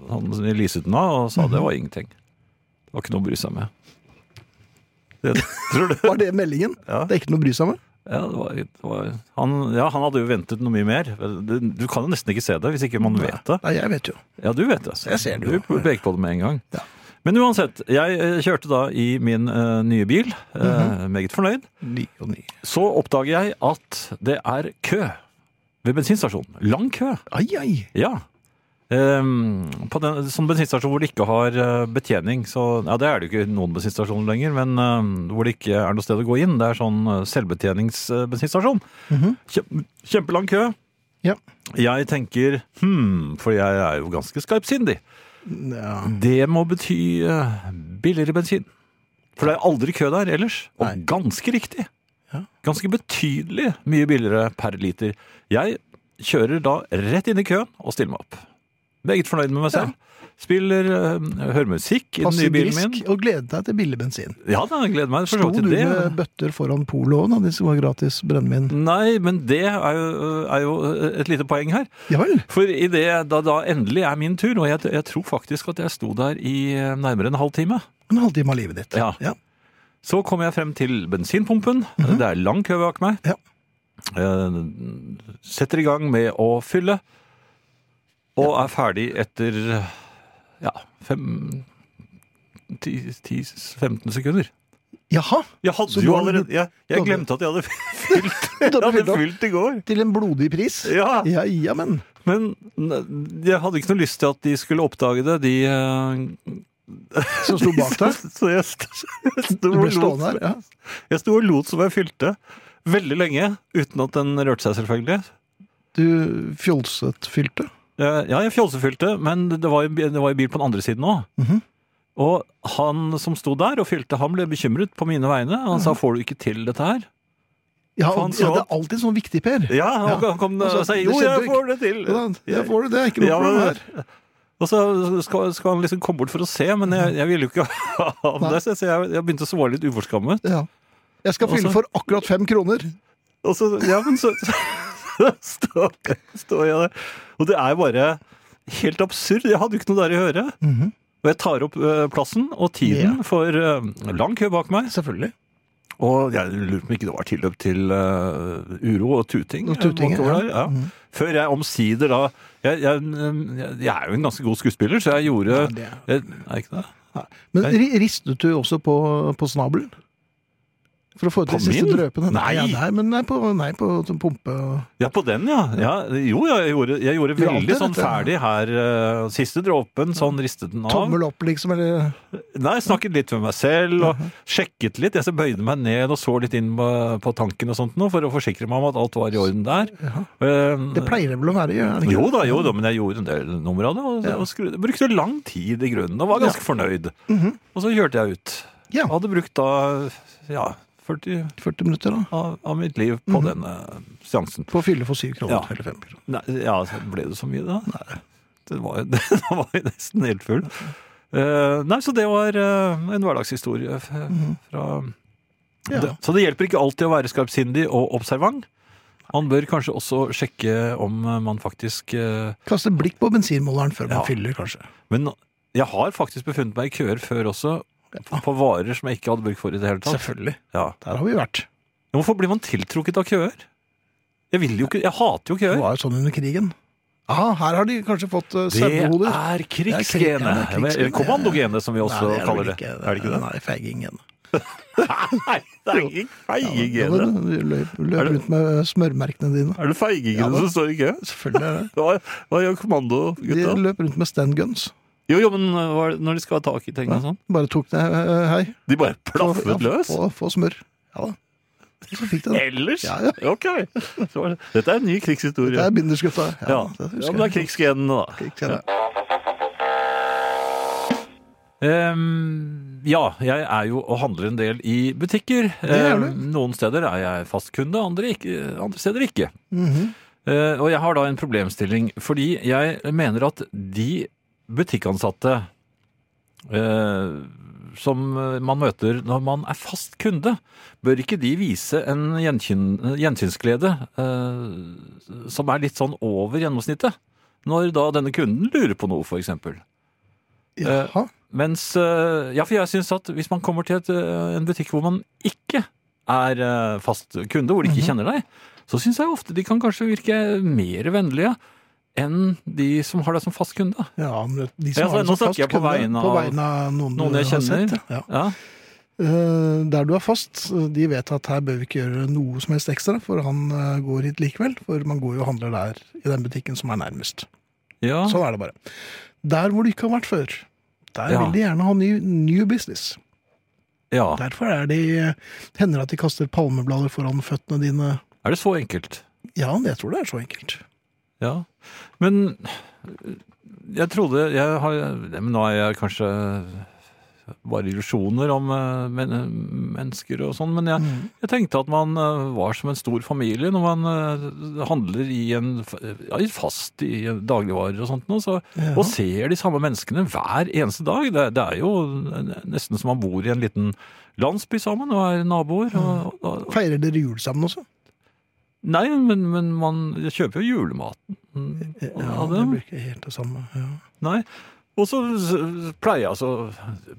Speaker 2: han lyset den av og sa det var ingenting. Det var ikke noe å bry seg med. Det, tror du?
Speaker 3: Var det meldingen?
Speaker 2: Ja.
Speaker 3: Det er ikke noe å bry seg med?
Speaker 2: Ja, det var, det var, han, ja, han hadde jo ventet noe mye mer. Det- Du kan jo nesten ikke se det hvis ikke man vet det.
Speaker 3: Nei, jeg vet jo.
Speaker 2: Ja, du vet det. altså.
Speaker 3: Jeg ser det jo.
Speaker 2: Du peker på det med en gang.
Speaker 3: Ja.
Speaker 2: Men uansett, jeg eh, kjørte da i min eh, nye bil. eh,
Speaker 3: Mhm.
Speaker 2: Meget fornøyd.
Speaker 3: Ny og ny.
Speaker 2: Så oppdager jeg at det er kø ved bensinstasjonen. Lang kø,
Speaker 3: Ai, ai.
Speaker 2: ja. Ehm, på den, sånn bensinstasjon hvor det ikke har eh, betjening. Så, ja, det er det jo ikke noen bensinstasjoner lenger, men eh, hvor det ikke er noe sted å gå inn. Det er sånn eh, selvbetjeningsbensinstasjon.
Speaker 3: Mhm.
Speaker 2: Kjem- Kjempelang kø.
Speaker 3: Ja.
Speaker 2: Jeg tenker hm, for jeg er jo ganske skarpsindig.
Speaker 3: Ja.
Speaker 2: Det må bety eh, billigere bensin. For det er aldri kø der ellers. Og
Speaker 3: Nei.
Speaker 2: ganske riktig.
Speaker 3: Ja.
Speaker 2: Ganske betydelig mye billigere per liter. Jeg kjører da rett inn i køen og stiller meg opp. Meget fornøyd med meg selv. Spiller, eh, hører musikk i den
Speaker 3: Passe
Speaker 2: nye bilen
Speaker 3: grisk
Speaker 2: min.
Speaker 3: og glede deg til billig bensin.
Speaker 2: Ja da, jeg gleder meg for så
Speaker 3: Sto
Speaker 2: vidt
Speaker 3: du
Speaker 2: til det.
Speaker 3: med bøtter foran Polo òg, da, de som var gratis brennevin?
Speaker 2: Nei, men det er jo, eh, er jo et lite poeng her.
Speaker 3: Ja vel?
Speaker 2: For i det, da, da endelig er min tur, og jeg, jeg tror faktisk at jeg sto der i eh, nærmere en halvtime
Speaker 3: En halvtime av livet ditt.
Speaker 2: Ja. Så kom jeg frem til bensinpumpen. Det er lang kø bak meg.
Speaker 3: Ja.
Speaker 2: Eh, Setter i gang med å fylle, og er ferdig etter ja, fem, ti, ti, 15 sekunder.
Speaker 3: Jaha!
Speaker 2: Jeg
Speaker 3: Så
Speaker 2: hadde
Speaker 3: du
Speaker 2: jo
Speaker 3: har-
Speaker 2: allerede Jeg,
Speaker 3: du
Speaker 2: jeg
Speaker 3: hadde-
Speaker 2: glemte at jeg hadde fylt, jeg
Speaker 3: hadde
Speaker 2: hadde
Speaker 3: fylt opp.
Speaker 2: fylt i går.
Speaker 3: Til en blodig pris.
Speaker 2: Ja,
Speaker 3: Ja, ja, men.
Speaker 2: Men n- jeg hadde ikke noe lyst til at de skulle oppdage det, de eh,
Speaker 3: Som sto bak deg.
Speaker 2: Så jeg st- jeg sto
Speaker 3: Du
Speaker 2: og
Speaker 3: ble
Speaker 2: lot
Speaker 3: stående her. Ja.
Speaker 2: Jeg sto og lot som jeg fylte veldig lenge, uten at den rørte seg, selvfølgelig.
Speaker 3: Du fjolset fylte.
Speaker 2: Eh, Ja, jeg fjolsefylte, men det var, jo- det var jo bil på den andre siden òg.
Speaker 3: Mhm.
Speaker 2: Og han som sto der og fylte, han ble bekymret på mine vegne. Han
Speaker 3: Mhm.
Speaker 2: sa 'får du ikke til dette her'?
Speaker 3: Ja,
Speaker 2: Faen,
Speaker 3: og- ja,
Speaker 2: så-
Speaker 3: det er alltid sånn viktig, Per.
Speaker 2: Ja, han
Speaker 3: Ja.
Speaker 2: kom
Speaker 3: Altså,
Speaker 2: og sa
Speaker 3: det
Speaker 2: 'jo,
Speaker 3: skjedde
Speaker 2: jeg
Speaker 3: jo
Speaker 2: får det til'.
Speaker 3: Ja, da,
Speaker 2: Jeg-
Speaker 3: det får du, det er ikke noe
Speaker 2: Ja,
Speaker 3: problem
Speaker 2: men-
Speaker 3: her.
Speaker 2: Og så skal, skal han liksom komme bort for å se, men jeg, jeg ville jo ikke ha
Speaker 3: Nei.
Speaker 2: det, så jeg, jeg begynte å svare litt uforskammet.
Speaker 3: Ja. Jeg skal fylle
Speaker 2: Også-
Speaker 3: for akkurat fem kroner.
Speaker 2: Og så, ja, men så, så står, står jeg der. Og det er jo bare helt absurd. Jeg hadde jo ikke noe der i øret.
Speaker 3: Mhm.
Speaker 2: Og jeg tar opp eh, plassen og tiden
Speaker 3: Ja.
Speaker 2: for eh, lang kø bak meg.
Speaker 3: Selvfølgelig.
Speaker 2: Og jeg lurer på om ikke det var tilløp til eh, uro og tuting.
Speaker 3: Og tuting,
Speaker 2: eh, bakover
Speaker 3: ja.
Speaker 2: der, ja.
Speaker 3: Mhm.
Speaker 2: Før jeg omsider da jeg, jeg, eh, jeg, jeg er jo en ganske god skuespiller, så jeg gjorde
Speaker 3: Ja, det er-
Speaker 2: jeg, Er ikke det?
Speaker 3: Men ri- ristet du også på, på snabelen? For å få ut
Speaker 2: På
Speaker 3: de siste
Speaker 2: min?
Speaker 3: drøpene?
Speaker 2: Nei.
Speaker 3: ja, nei, men nei, på, nei, på sånn pumpe og
Speaker 2: Ja, på den, ja. ja jo, jeg gjorde, jeg gjorde
Speaker 3: Du gjør
Speaker 2: veldig
Speaker 3: alltid
Speaker 2: sånn
Speaker 3: dette, ja.
Speaker 2: ferdig her. eh, siste dråpen, sånn ristet den av.
Speaker 3: tommel opp, liksom? Eller
Speaker 2: Nei, snakket litt med meg selv
Speaker 3: Mhm.
Speaker 2: og sjekket litt. Jeg så bøyde meg ned og så litt inn på på tanken og sånt nå, for å forsikre meg om at alt var i orden der. Eh,
Speaker 3: Det pleier det vel å være? Gjør det ikke?
Speaker 2: jo da, jo da, men jeg gjorde en del nummer av det. Og, og skru, brukte lang tid i grunnen og var ganske fornøyd.
Speaker 3: Mhm.
Speaker 2: Og så kjørte jeg ut.
Speaker 3: Ja.
Speaker 2: Jeg hadde brukt da ja, 40
Speaker 3: 40 minutter, da.
Speaker 2: av, av mitt liv
Speaker 3: Mhm.
Speaker 2: på denne seansen.
Speaker 3: På å fylle for syv kroner.
Speaker 2: Ja.
Speaker 3: Eller fem kroner.
Speaker 2: Nei, ja, så ble det så mye da? Nei. Det var, det var jo nesten helt full. Eh, nei, så det var eh, en hverdagshistorie f- fra
Speaker 3: Mhm. Ja.
Speaker 2: det. Så det hjelper ikke alltid å være skarpsindig og observant. Man bør kanskje også sjekke om eh, man faktisk eh,
Speaker 3: Kaste blikk på bensinmåleren før
Speaker 2: Ja.
Speaker 3: man fyller, kanskje.
Speaker 2: Men jeg har faktisk befunnet meg i køer før også, på på varer som jeg ikke hadde bruk for i det hele tatt.
Speaker 3: Selvfølgelig.
Speaker 2: Ja.
Speaker 3: Der har vi vært.
Speaker 2: Men Hvorfor blir man tiltrukket av køer? Jeg, vil jo ikke, jeg hater jo
Speaker 3: Det
Speaker 2: køer.
Speaker 3: var jo sånn under krigen. Aha, her har de kanskje fått uh,
Speaker 2: Det
Speaker 3: sauehoder.
Speaker 2: er
Speaker 3: Ah, Det er krig- ja, det er
Speaker 2: krigsgenet.
Speaker 3: krigsgenet.
Speaker 2: Eller kommandogenet, som vi også
Speaker 3: Nei, det er
Speaker 2: kaller
Speaker 3: vel
Speaker 2: det. Er det ikke det?
Speaker 3: Nei, feigingen.
Speaker 2: Nei, det er ingen feiging i det.
Speaker 3: Du løp, løp
Speaker 2: Er det-
Speaker 3: rundt med eh, smørmerkene dine.
Speaker 2: Er det feigingene
Speaker 3: Ja, da.
Speaker 2: som står i kø?
Speaker 3: Selvfølgelig er det.
Speaker 2: Hva, hva gjør kommando,
Speaker 3: De
Speaker 2: gutta?
Speaker 3: løp rundt med standguns.
Speaker 2: Jo, jo, men øh, hva er det når de skal ha tak i ting og sånn?
Speaker 3: Bare tok det eh, hei.
Speaker 2: De bare
Speaker 3: Få-
Speaker 2: plaffet
Speaker 3: ja,
Speaker 2: løs? Eh,
Speaker 3: Få, få smør. Ja da. Og så fikk de det.
Speaker 2: Ellers?
Speaker 3: Ja, ja.
Speaker 2: Ok. Så var det- Dette er en ny krigshistorie.
Speaker 3: Det er bindersgutta.
Speaker 2: ja.
Speaker 3: det husker
Speaker 2: ja, men det er
Speaker 3: jeg.
Speaker 2: krigsgenene, da.
Speaker 3: Krigsgenene.
Speaker 2: Ehm, ja, jeg er jo og handler en del i butikker.
Speaker 3: gjør du.
Speaker 2: Ehm, noen steder er jeg fast kunde, andre, ikke, andre steder ikke.
Speaker 3: Mhm.
Speaker 2: Eh, og jeg har da en problemstilling, fordi jeg mener at de butikkansatte eh, som man møter når man er fast kunde, bør ikke de vise en gjenkyn, gjensynsglede eh, som er litt sånn over gjennomsnittet? Når da denne kunden lurer på noe, for eksempel. Eh,
Speaker 3: Jaha.
Speaker 2: Mens eh, Ja, for jeg syns at hvis man kommer til et, eh, en butikk hvor man ikke er eh, fast kunde, hvor de ikke kjenner deg, så syns jeg ofte de kan kanskje virke mer vennlige enn de som har deg som fast kunde.
Speaker 3: Ja, men de
Speaker 2: Ja,
Speaker 3: som
Speaker 2: for nå
Speaker 3: har det som
Speaker 2: snakker
Speaker 3: fast
Speaker 2: jeg på
Speaker 3: kunde,
Speaker 2: vegne
Speaker 3: på
Speaker 2: av
Speaker 3: vegne av noen,
Speaker 2: noen
Speaker 3: du
Speaker 2: jeg
Speaker 3: har sett,
Speaker 2: kjenner.
Speaker 3: ja.
Speaker 2: Ja.
Speaker 3: Eh, Der du er fast, de vet at her bør vi ikke gjøre noe som helst ekstra, for han eh, går hit likevel. For man går jo og handler der i den butikken som er nærmest.
Speaker 2: ja.
Speaker 3: Sånn er det bare. Der hvor du ikke har vært før, der
Speaker 2: Ja.
Speaker 3: vil de gjerne ha ny, new business.
Speaker 2: ja.
Speaker 3: Derfor er de, hender det at de kaster palmeblader foran føttene dine.
Speaker 2: Er det så enkelt?
Speaker 3: Ja, jeg tror det er så enkelt.
Speaker 2: Ja. Men eh, jeg trodde jeg har, eh, Men nå er jeg kanskje eh, bare illusjoner om eh, men, mennesker og sånn, men jeg,
Speaker 3: Mm.
Speaker 2: jeg tenkte at man eh, var som en stor familie når man eh, handler i en, f- ja, i fast i dagligvarer og sånt nå, så,
Speaker 3: Ja.
Speaker 2: og ser de samme menneskene hver eneste dag. Det, det er jo eh, nesten som man bor i en liten landsby sammen og er naboer. Og, og,
Speaker 3: Feirer dere jul sammen også?
Speaker 2: nei, men, men man kjøper jo julematen.
Speaker 3: Ja,
Speaker 2: av
Speaker 3: det
Speaker 2: dem.
Speaker 3: blir ikke helt det samme. Ja.
Speaker 2: Nei. Og så s- pleier jeg altså å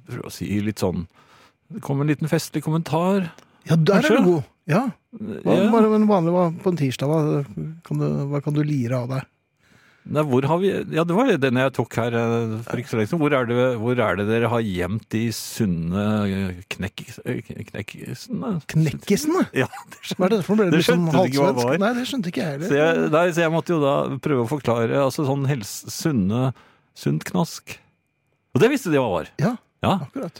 Speaker 2: prøve å si litt sånn Det kom en liten festlig kommentar.
Speaker 3: Ja, der
Speaker 2: Kanskje?
Speaker 3: er du god! Ja. Hva,
Speaker 2: Ja.
Speaker 3: bare en vanlig hva, på en tirsdag, hva kan, du, hva kan du lire av deg?
Speaker 2: Nei, hvor har vi Ja, det var den jeg tok her eh, for ikke så lenge siden. Hvor, er det- hvor er det dere har gjemt de sunne knekk... Knekkisene?
Speaker 3: Knekkisen, da!
Speaker 2: Ja, det skjønner
Speaker 3: Hva er det for noe? Ble
Speaker 2: Det
Speaker 3: det litt sånn
Speaker 2: skjønte du ikke hva det
Speaker 3: halvsvensk?
Speaker 2: var.
Speaker 3: Nei, det skjønte ikke jeg
Speaker 2: så
Speaker 3: heller.
Speaker 2: jeg. Nei, så jeg måtte jo da prøve å forklare. Altså sånn helse, sunne Sunt knask. Og det visste de hva var.
Speaker 3: Ja,
Speaker 2: Ja.
Speaker 3: akkurat.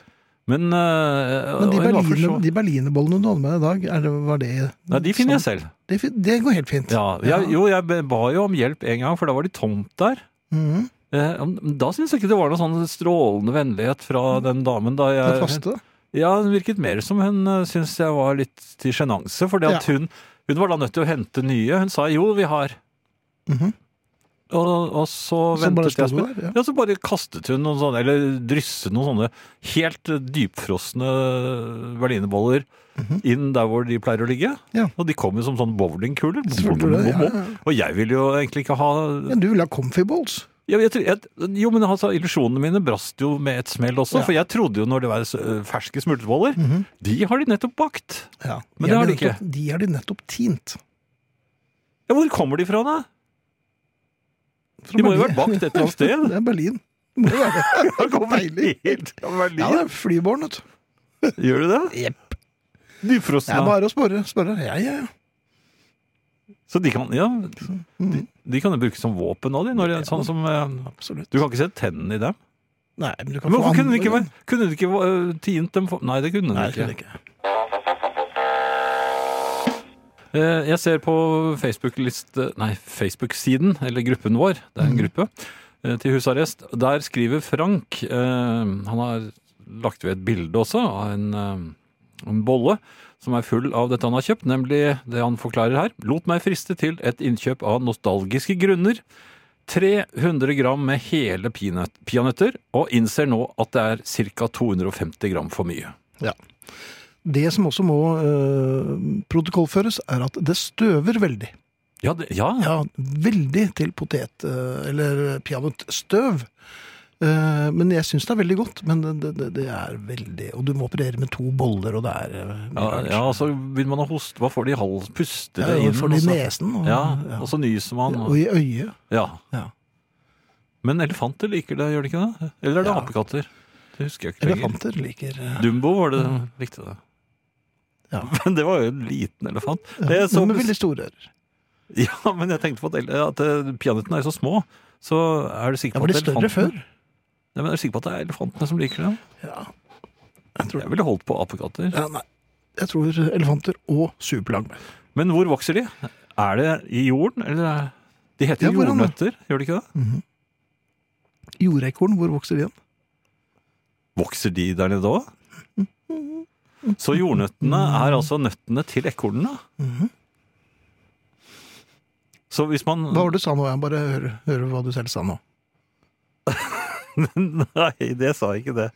Speaker 2: Men, eh,
Speaker 3: Men de, berline, de berlinerbollene du hadde med deg i dag, er det, var det
Speaker 2: Nei, de finner jeg
Speaker 3: sånn-
Speaker 2: selv.
Speaker 3: Det, fin- det går helt fint.
Speaker 2: Ja, jeg, jo, jeg ba jo om hjelp en gang, for da var de tomt der.
Speaker 3: Mhm.
Speaker 2: Eh, om- Da syns jeg ikke det var noe sånn strålende vennlighet fra den damen. da
Speaker 3: Den
Speaker 2: jeg...
Speaker 3: faste.
Speaker 2: Ja, Det virket mer som hun eh, syntes jeg var litt til sjenanse, fordi at
Speaker 3: Ja.
Speaker 2: hun, hun var da nødt til å hente nye. Hun sa jo, vi har.
Speaker 3: Mhm.
Speaker 2: Og, og så,
Speaker 3: Så bare
Speaker 2: ventet
Speaker 3: sto
Speaker 2: jeg
Speaker 3: du
Speaker 2: spen-
Speaker 3: der. Ja.
Speaker 2: Ja, så bare kastet hun noen sånne, eller drysset noen sånne helt eh, dypfrosne berlinerboller inn der hvor de pleier å ligge.
Speaker 3: Mhm. Ja.
Speaker 2: Og de kom jo som sånne bowlingkuler.
Speaker 3: Selvfølgelig, ja, ja.
Speaker 2: Og jeg ville jo egentlig ikke ha
Speaker 3: Ja, du vil ha comfy balls.
Speaker 2: ja, jeg, tror- jeg, jo, men altså, Illusjonene mine brast jo med et smell også.
Speaker 3: Ja. Mhm.
Speaker 2: For jeg trodde jo når det var eh, ferske smultreboller De har de nettopp bakt!
Speaker 3: Ja.
Speaker 2: Men det har de
Speaker 3: nettopp- De har de nettopp tint.
Speaker 2: Ja, Hvor kommer de fra, da?
Speaker 3: Fra
Speaker 2: De må jo ha vært
Speaker 3: Berlin.
Speaker 2: bakt et eller annet sted?
Speaker 3: Det er Berlin. Det må jo være det.
Speaker 2: Da kommer
Speaker 3: Deilig.
Speaker 2: de helt fra Berlin.
Speaker 3: Ja, det er flybåren, vet du.
Speaker 2: Gjør de det?
Speaker 3: Jepp. Det
Speaker 2: Dypfrosne.
Speaker 3: er bare å spørre. spørre. Ja, ja, ja.
Speaker 2: Så de kan, ja,
Speaker 3: Mm.
Speaker 2: de, de kan jo bruke som våpen òg, de. Når det, sånn som, eh,
Speaker 3: Absolutt.
Speaker 2: du kan ikke se tennene i dem.
Speaker 3: Nei, men du kan
Speaker 2: Men
Speaker 3: få
Speaker 2: hvorfor kunne de ikke,
Speaker 3: andre-
Speaker 2: være- kunne de ikke eh, tint dem for Nei, det kunne
Speaker 3: Nei,
Speaker 2: de
Speaker 3: det kan de
Speaker 2: ikke.
Speaker 3: ikke.
Speaker 2: Eh, Jeg ser på Facebook-liste, nei, Facebook-siden, eller gruppen vår, det er en gruppe, eh, til husarrest. Der skriver Frank, eh, han har lagt ved et bilde også av en, eh, en bolle som er full av dette han har kjøpt, nemlig det han forklarer her. Lot meg friste til et innkjøp av nostalgiske grunner. 300 gram med hele peanøt- peanøtter, og innser nå at det er ca. 250 gram for mye.
Speaker 3: Det som også må eh, protokollføres, er at det støver veldig.
Speaker 2: Ja, det, ja.
Speaker 3: Ja, veldig til potet- eh, eller peanøttstøv. Eh, Men jeg syns det er veldig godt. Men det, det, det er veldig Og du må operere med to boller, og det er eh, mye
Speaker 2: Ja,
Speaker 3: rart.
Speaker 2: ja, altså vil man ha hoste, hva får de i hals? Puster
Speaker 3: Ja,
Speaker 2: det
Speaker 3: ja,
Speaker 2: inn?
Speaker 3: for de
Speaker 2: og så-
Speaker 3: nesen. Og,
Speaker 2: Ja,
Speaker 3: ja.
Speaker 2: og så nyser man.
Speaker 3: og
Speaker 2: Og,
Speaker 3: i øyet.
Speaker 2: ja.
Speaker 3: Ja.
Speaker 2: Men elefanter liker det, gjør de ikke det? Eller er det
Speaker 3: Ja.
Speaker 2: apekatter? Det husker jeg ikke lenger.
Speaker 3: Elefanter liker eh,
Speaker 2: Dumbo var det riktig, det.
Speaker 3: Ja.
Speaker 2: Men det var jo en liten elefant.
Speaker 3: ja,
Speaker 2: Jeg så-
Speaker 3: men med veldig store ører.
Speaker 2: Ja, men jeg tenkte på at, ele- at eh, peanøttene er jo så små. Så er du sikker
Speaker 3: Ja,
Speaker 2: på
Speaker 3: var
Speaker 2: at
Speaker 3: de større
Speaker 2: elefantene-
Speaker 3: før?
Speaker 2: Nei, men er du sikker på at det er elefantene som liker dem?
Speaker 3: Ja. Jeg tror,
Speaker 2: Jeg ville holdt på apekatter.
Speaker 3: ja, nei. jeg tror elefanter og superlang.
Speaker 2: Men hvor vokser de? Er det i jorden, eller er- De heter
Speaker 3: Ja, hvordan da?
Speaker 2: jordnøtter, gjør de ikke det?
Speaker 3: Jordekorn, Mhm. hvor vokser de hen?
Speaker 2: Vokser de der nede òg? Så jordnøttene er altså nøttene til ekornene?
Speaker 3: Mhm.
Speaker 2: Så hvis man
Speaker 3: Hva var det du sa nå? Jeg bare hører, hører hva du selv sa nå.
Speaker 2: Nei, det sa jeg ikke det.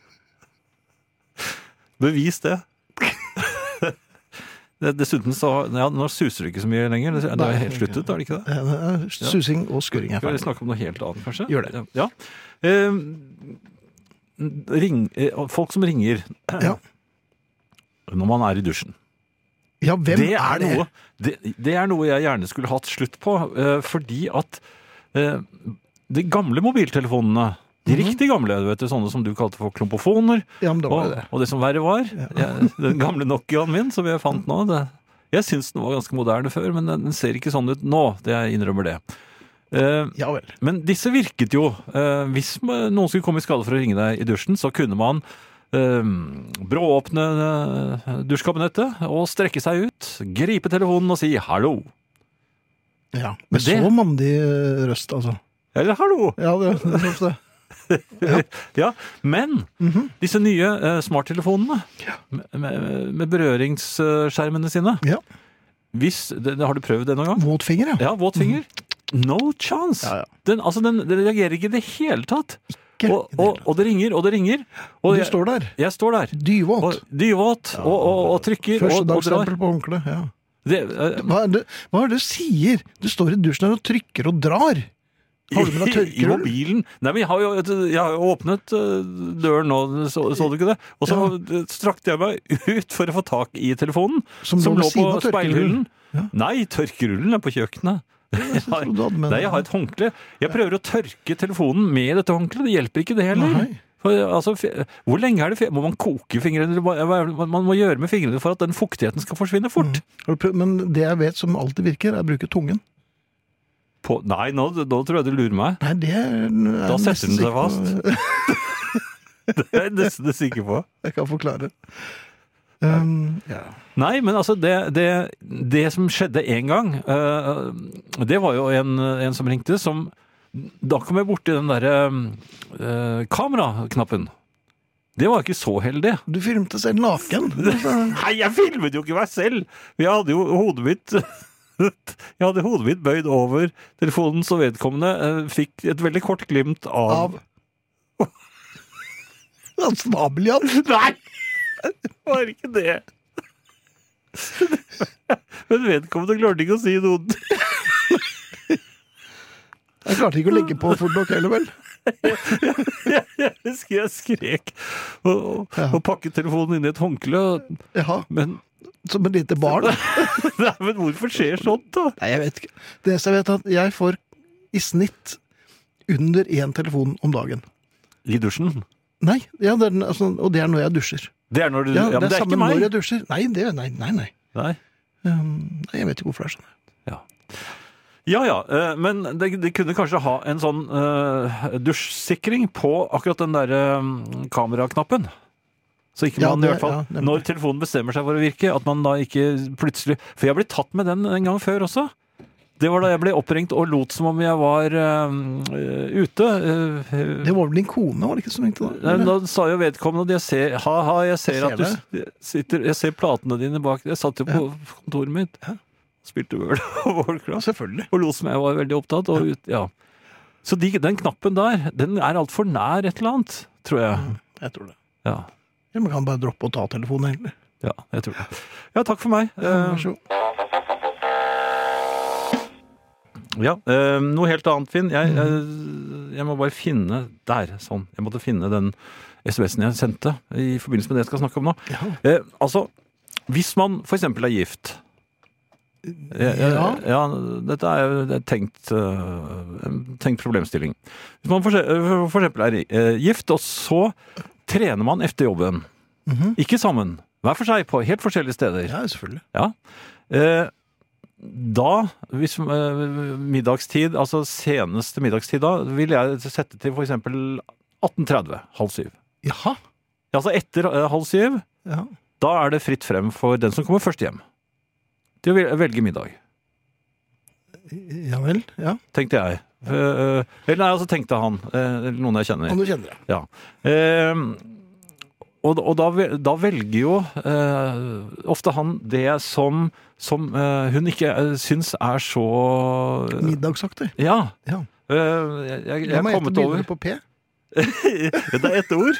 Speaker 2: Bevis det. Det- Dessuten så ja, Nå suser det ikke så mye lenger. Det det er helt sluttet, er det ikke det?
Speaker 3: Eh, eh, Susing og skurring er
Speaker 2: Skal vi
Speaker 3: ferdig.
Speaker 2: snakke om noe helt annet, kanskje?
Speaker 3: Gjør det.
Speaker 2: Ja. Eh, ring, eh, folk som ringer
Speaker 3: Ja.
Speaker 2: når man er i dusjen.
Speaker 3: Ja, hvem
Speaker 2: det
Speaker 3: er det?
Speaker 2: Noe, det, det er noe jeg gjerne skulle hatt slutt på, eh, fordi at eh, de gamle mobiltelefonene de riktig gamle, du vet, sånne som du kalte for klompofoner,
Speaker 3: Ja, men Mhm. da var
Speaker 2: og,
Speaker 3: det det.
Speaker 2: og det som verre var, jeg, den gamle Nokiaen min som jeg fant nå, det, jeg syns den var ganske moderne før, men den ser ikke sånn ut nå, det jeg innrømmer det. Eh,
Speaker 3: Ja vel.
Speaker 2: men disse virket jo. Eh, hvis ma- noen skulle komme i skade for å ringe deg i dusjen, så kunne man eh, brååpne eh, dusjkabinettet og strekke seg ut, gripe telefonen og si 'hallo'.
Speaker 3: Ja.
Speaker 2: Men
Speaker 3: Med
Speaker 2: det-
Speaker 3: så mandig eh, røst, altså.
Speaker 2: Eller 'hallo'.
Speaker 3: Ja, det, det, er ofte det.
Speaker 2: Ja, Men
Speaker 3: Mhm.
Speaker 2: disse nye eh, smarttelefonene med, med, med berøringsskjermene sine
Speaker 3: Ja.
Speaker 2: hvis, det, det, Har du prøvd det noen gang?
Speaker 3: Våt finger, ja.
Speaker 2: Ja, våt finger. No chance!
Speaker 3: Mhm. Ja, ja.
Speaker 2: Den, altså, den, den reagerer ikke i det hele tatt.
Speaker 3: Ikke
Speaker 2: Og,
Speaker 3: i det
Speaker 2: og,
Speaker 3: hele
Speaker 2: og det ringer, og det ringer. Og
Speaker 3: Du
Speaker 2: jeg,
Speaker 3: står der.
Speaker 2: jeg står der.
Speaker 3: Dyvåt.
Speaker 2: Og dyvåt, og, og, og trykker og, og drar.
Speaker 3: Førstedagsstempel på håndkleet. Ja.
Speaker 2: Det, eh,
Speaker 3: Hva er det hva er det du sier? Du står i dusjen her og trykker og drar. Har du med deg
Speaker 2: I
Speaker 3: tørkerull?
Speaker 2: mobilen. Nei, men jeg har jo, jeg har jo åpnet eh, døren nå, så, så du ikke det? Og så eh, strakte jeg meg ut for å få tak i telefonen,
Speaker 3: Som lå ved siden av tørkerullen. Ja.
Speaker 2: Nei, tørkerullen er på kjøkkenet. Jeg har,
Speaker 3: trodde du hadde med
Speaker 2: nei,
Speaker 3: den.
Speaker 2: jeg har et håndkle. Jeg prøver å tørke telefonen med dette håndkleet. Det hjelper ikke, det heller.
Speaker 3: Nei.
Speaker 2: For, altså, fe- hvor lenge er det fe- Må man koke fingrene? Eller hva- hva er det Man man må gjøre med fingrene for at den fuktigheten skal forsvinne fort.
Speaker 3: Har du prøvd- Men det jeg vet som alltid virker, er å bruke tungen.
Speaker 2: På, nei, nå, nå tror jeg du lurer meg.
Speaker 3: Nei, det er, er
Speaker 2: Da
Speaker 3: jeg
Speaker 2: setter den
Speaker 3: nesten
Speaker 2: seg
Speaker 3: sikker på.
Speaker 2: fast. Det er jeg nesten sikker på.
Speaker 3: Jeg kan forklare. Um, ja.
Speaker 2: Nei, men altså, det, det, det som skjedde en gang, eh, det var jo en, en som ringte som Da kom jeg borti den derre eh, kameraknappen. Det var ikke så heldig.
Speaker 3: Du filmte selv naken.
Speaker 2: Nei, jeg filmet jo ikke meg selv! Men jeg hadde jo hodet mitt Jeg hadde hodet mitt bøyd over telefonen, så vedkommende eh, fikk et veldig kort glimt
Speaker 3: Av Av Snabeljan.
Speaker 2: Nei! Det var ikke det. Men vedkommende klarte ikke å si noe.
Speaker 3: Jeg klarte ikke å legge på fort nok heller, vel.
Speaker 2: Jeg husker jeg skrek og, og,
Speaker 3: Ja.
Speaker 2: og pakket telefonen inn i et håndkle. og-
Speaker 3: Ja,
Speaker 2: Men,
Speaker 3: Som et lite barn.
Speaker 2: nei, men hvorfor skjer sånt, da?
Speaker 3: Nei, jeg vet ikke. Det eneste jeg vet, er at jeg får i snitt under én telefon om dagen.
Speaker 2: I dusjen.
Speaker 3: Nei, ja, det er, den- altså, Og det er når jeg dusjer.
Speaker 2: Det er når du
Speaker 3: Ja,
Speaker 2: Ja, men det er
Speaker 3: samme
Speaker 2: ikke meg.
Speaker 3: når jeg dusjer. Nei, det, nei, nei, nei.
Speaker 2: Nei.
Speaker 3: Um, nei. Jeg vet ikke hvorfor det er sånn.
Speaker 2: Ja ja, eh, men det, det kunne kanskje ha en sånn eh, dusjsikring på akkurat den derre kameraknappen. Så ikke
Speaker 3: Ja,
Speaker 2: man i
Speaker 3: det-
Speaker 2: hvert fall,
Speaker 3: ja, nemlig.
Speaker 2: når telefonen bestemmer seg for å virke, at man da ikke plutselig For jeg ble tatt med den en gang før også. Det var da jeg ble oppringt og lot som om jeg var eh, ute. eh,
Speaker 3: Det var vel din kone, var det ikke som ringte da?
Speaker 2: Nei,
Speaker 3: Eller?
Speaker 2: nå sa jo vedkommende at jeg ser, ha, ha, jeg ser
Speaker 3: Jeg
Speaker 2: at du
Speaker 3: ser
Speaker 2: sitter Jeg ser platene dine bak Jeg satt jo på kontoret mitt. Spilte World of
Speaker 3: Ja,
Speaker 2: Warcraft
Speaker 3: selvfølgelig.
Speaker 2: og lot som jeg var veldig opptatt. Og ut, ja. Så de, den knappen der, den er altfor nær et eller annet, tror jeg.
Speaker 3: Jeg tror det.
Speaker 2: Ja,
Speaker 3: Eller man kan bare droppe å ta telefonen, egentlig.
Speaker 2: ja jeg tror det. Ja, takk for meg. Eh,
Speaker 3: Vær så god.
Speaker 2: Ja, eh, noe helt annet, Finn.
Speaker 3: Mm.
Speaker 2: Jeg, jeg, jeg må bare finne Der, sånn. Jeg måtte finne den SMS-en jeg sendte i forbindelse med det jeg skal snakke om nå.
Speaker 3: Ja.
Speaker 2: Eh, altså, hvis man f.eks. er gift jeg, jeg, ja.
Speaker 3: Ja.
Speaker 2: dette er jo det er tenkt, eh, en tenkt problemstilling. Hvis man for, for eksempel er eh, gift, og eh, så trener man efter jobben.
Speaker 3: Mhm.
Speaker 2: Ikke sammen. Hver for seg, på helt forskjellige steder.
Speaker 3: Ja, selvfølgelig.
Speaker 2: Ja. Eh, da, hvis eh, middagstid, altså seneste middagstid da, vil jeg sette til for eksempel 18.30, halv syv.
Speaker 3: Jaha.
Speaker 2: Ja, Altså etter eh, halv syv,
Speaker 3: Ja.
Speaker 2: da er det fritt frem for den som kommer først hjem. Til å vel- velge middag,
Speaker 3: ja vel. Ja.
Speaker 2: tenkte jeg. Eh, eh, eller nei, altså tenkte han, eh, eller noen jeg kjenner.
Speaker 3: Om du kjenner det.
Speaker 2: Ja. Eh, og og da, vel- da velger jo eh, ofte han det som, som eh, hun ikke eh, syns er så
Speaker 3: Middagsaktig.
Speaker 2: Ja.
Speaker 3: Ja.
Speaker 2: Eh, jeg jeg, jeg
Speaker 3: La
Speaker 2: er
Speaker 3: meg gjette
Speaker 2: kommet over
Speaker 3: begynner på P.
Speaker 2: Ja, Det er ett ord.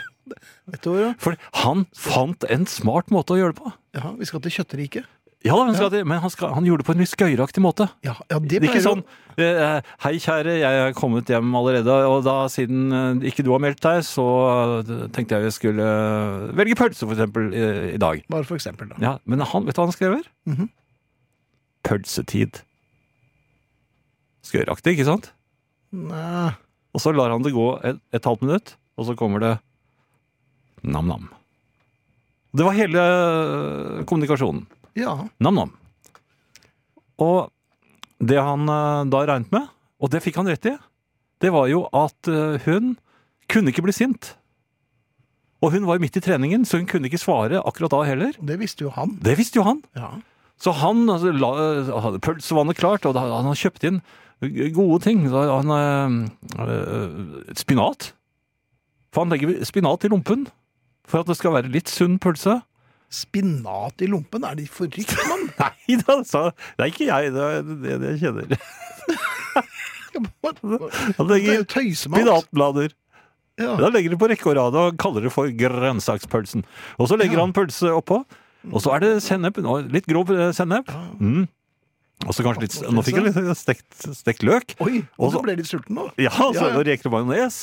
Speaker 3: Et år, ja.
Speaker 2: For han fant en smart måte å gjøre det på.
Speaker 3: ja. Vi skal til kjøttriket.
Speaker 2: Ja, da, han skal, det, Men han, skal, han gjorde det på en litt skøyeraktig måte.
Speaker 3: Ja, ja, det
Speaker 2: Det er
Speaker 3: pleier
Speaker 2: ikke
Speaker 3: jo-
Speaker 2: sånn eh, 'Hei, kjære, jeg er kommet hjem allerede, og da siden eh, ikke du har meldt deg, så eh, tenkte jeg jeg skulle eh, velge pølse, for eksempel, eh, i dag'.
Speaker 3: Bare for eksempel, da.
Speaker 2: Ja, Men han, vet du hva han skrev her?
Speaker 3: Mhm.
Speaker 2: Pølsetid. Skøyeraktig, ikke sant?
Speaker 3: Nei.
Speaker 2: Og så lar han det gå et, et halvt minutt, og så kommer det nam-nam. Det var hele øh, kommunikasjonen.
Speaker 3: Ja.
Speaker 2: Nam-nam. Og det han øh, da regnet med, og det fikk han rett i, det var jo at øh, hun kunne ikke bli sint. Og hun var midt i treningen, så hun kunne ikke svare akkurat da heller.
Speaker 3: Det visste jo han.
Speaker 2: Det visste jo han.
Speaker 3: Ja.
Speaker 2: Så han altså, la, hadde pølsevannet klart, og da, han har kjøpt inn gode ting. Da, han, eh, eh, spinat. For han legger spinat i lompen for at det skal være litt sunn pølse.
Speaker 3: Spinat i lompen, er de forrykt, mann?
Speaker 2: Nei da, sa Det er ikke jeg, det er det, det jeg kjenner. Han
Speaker 3: Det er jo
Speaker 2: legger
Speaker 3: tøysemat.
Speaker 2: spinatblader.
Speaker 3: Ja.
Speaker 2: Da legger det på rekke og rad og kaller det for grønnsakspølsen. Og så legger
Speaker 3: Ja.
Speaker 2: han pølse oppå. Og så er det sennep. nå- Litt grov eh, sennep. Mm. Og så kanskje litt Nå fikk jeg litt stekt, stekt løk.
Speaker 3: Oi,
Speaker 2: Og
Speaker 3: og du
Speaker 2: så-
Speaker 3: ble litt sulten nå?
Speaker 2: Ja, altså,
Speaker 3: Ja, ja.
Speaker 2: og reker og majones.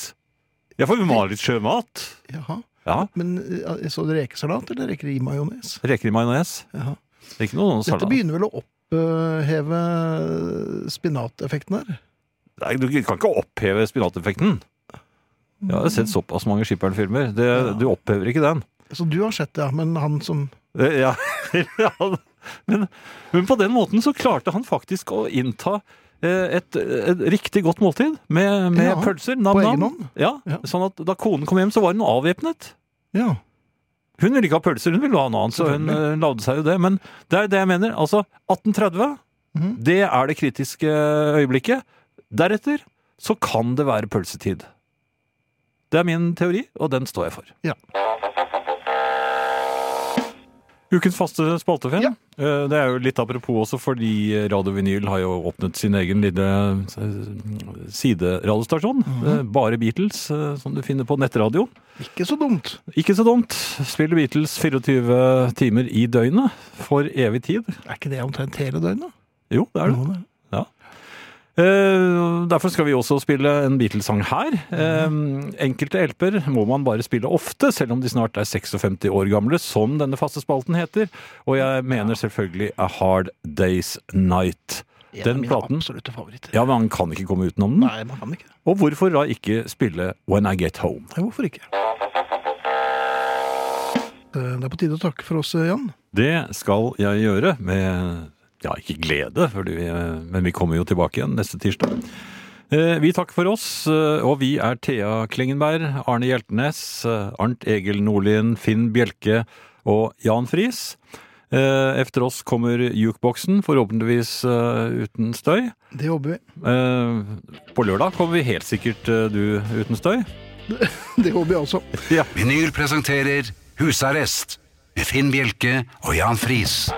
Speaker 2: Ja, for vi må ha litt sjømat.
Speaker 3: Jaha.
Speaker 2: Ja,
Speaker 3: Men eh, så du rekesalat eller reker i majones?
Speaker 2: reker i majones.
Speaker 3: Jaha.
Speaker 2: Det er Ikke noe
Speaker 3: Dette
Speaker 2: salat.
Speaker 3: begynner vel å oppheve eh, spinateffekten her?
Speaker 2: Nei, du kan ikke oppheve spinateffekten. Jeg har sett såpass mange Skipperen-filmer. Det-
Speaker 3: Ja.
Speaker 2: Du opphever ikke den.
Speaker 3: Så du har sett det, ja, men han som
Speaker 2: Eh, Ja. ja. Men, men på den måten så klarte han faktisk å innta eh, et, et riktig godt måltid med, med
Speaker 3: Ja,
Speaker 2: pølser.
Speaker 3: på egen
Speaker 2: Nam-nam.
Speaker 3: hånd?
Speaker 2: Ja,
Speaker 3: Ja.
Speaker 2: sånn at da konen kom hjem, så var hun avvæpnet.
Speaker 3: Ja.
Speaker 2: Hun ville ikke ha pølser, hun ville ha noe annet, så hun eh, lagde seg jo det. Men det er det jeg mener. Altså, 1830,
Speaker 3: Mhm.
Speaker 2: det er det kritiske eh, øyeblikket. Deretter så kan det være pølsetid. Det er min teori, og den står jeg for.
Speaker 3: Ja.
Speaker 2: Ukens faste spaltefilm.
Speaker 3: Ja.
Speaker 2: Eh, Det er jo litt apropos også, fordi Radio Vinyl har jo åpnet sin egen lille eh, sideradiostasjon.
Speaker 3: Mhm.
Speaker 2: Eh, Bare Beatles, eh, som du finner på nettradioen.
Speaker 3: Ikke så dumt.
Speaker 2: Ikke så dumt. Spiller Beatles 24 timer i døgnet for evig tid.
Speaker 3: Er ikke det omtrent hele døgnet?
Speaker 2: Jo, det er det.
Speaker 3: Noe, det.
Speaker 2: Eh, Derfor skal vi også spille en Beatles-sang her. Eh, Enkelte LP-er må man bare spille ofte, selv om de snart er 56 år gamle, som denne faste spalten heter. Og jeg mener selvfølgelig A Hard Day's Night.
Speaker 3: En
Speaker 2: Den
Speaker 3: av mine
Speaker 2: platen-
Speaker 3: Absolutte favoritter.
Speaker 2: Ja, men man kan ikke komme utenom den.
Speaker 3: Nei, man kan ikke det.
Speaker 2: Og hvorfor da ikke spille When I Get Home?
Speaker 3: Nei, Hvorfor ikke? Eh, Det er på tide å takke for oss, eh, Jan.
Speaker 2: Det skal jeg gjøre med ja, ikke glede, fordi vi, men vi kommer jo tilbake igjen neste tirsdag. Eh, Vi takker for oss, eh, og vi er Thea Klingenberg, Arne Hjeltnes, eh, Arnt Egil Nordlien, Finn Bjelke og Jan Friis. Eh, Efter oss kommer jukeboksen, forhåpentligvis eh, uten støy.
Speaker 3: Det jobber vi.
Speaker 2: Eh, På lørdag kommer vi helt sikkert eh, du uten støy.
Speaker 3: Det håper jeg også.
Speaker 2: Ja.
Speaker 1: Vinyl presenterer Husarrest med Finn Bjelke og Jan Friis.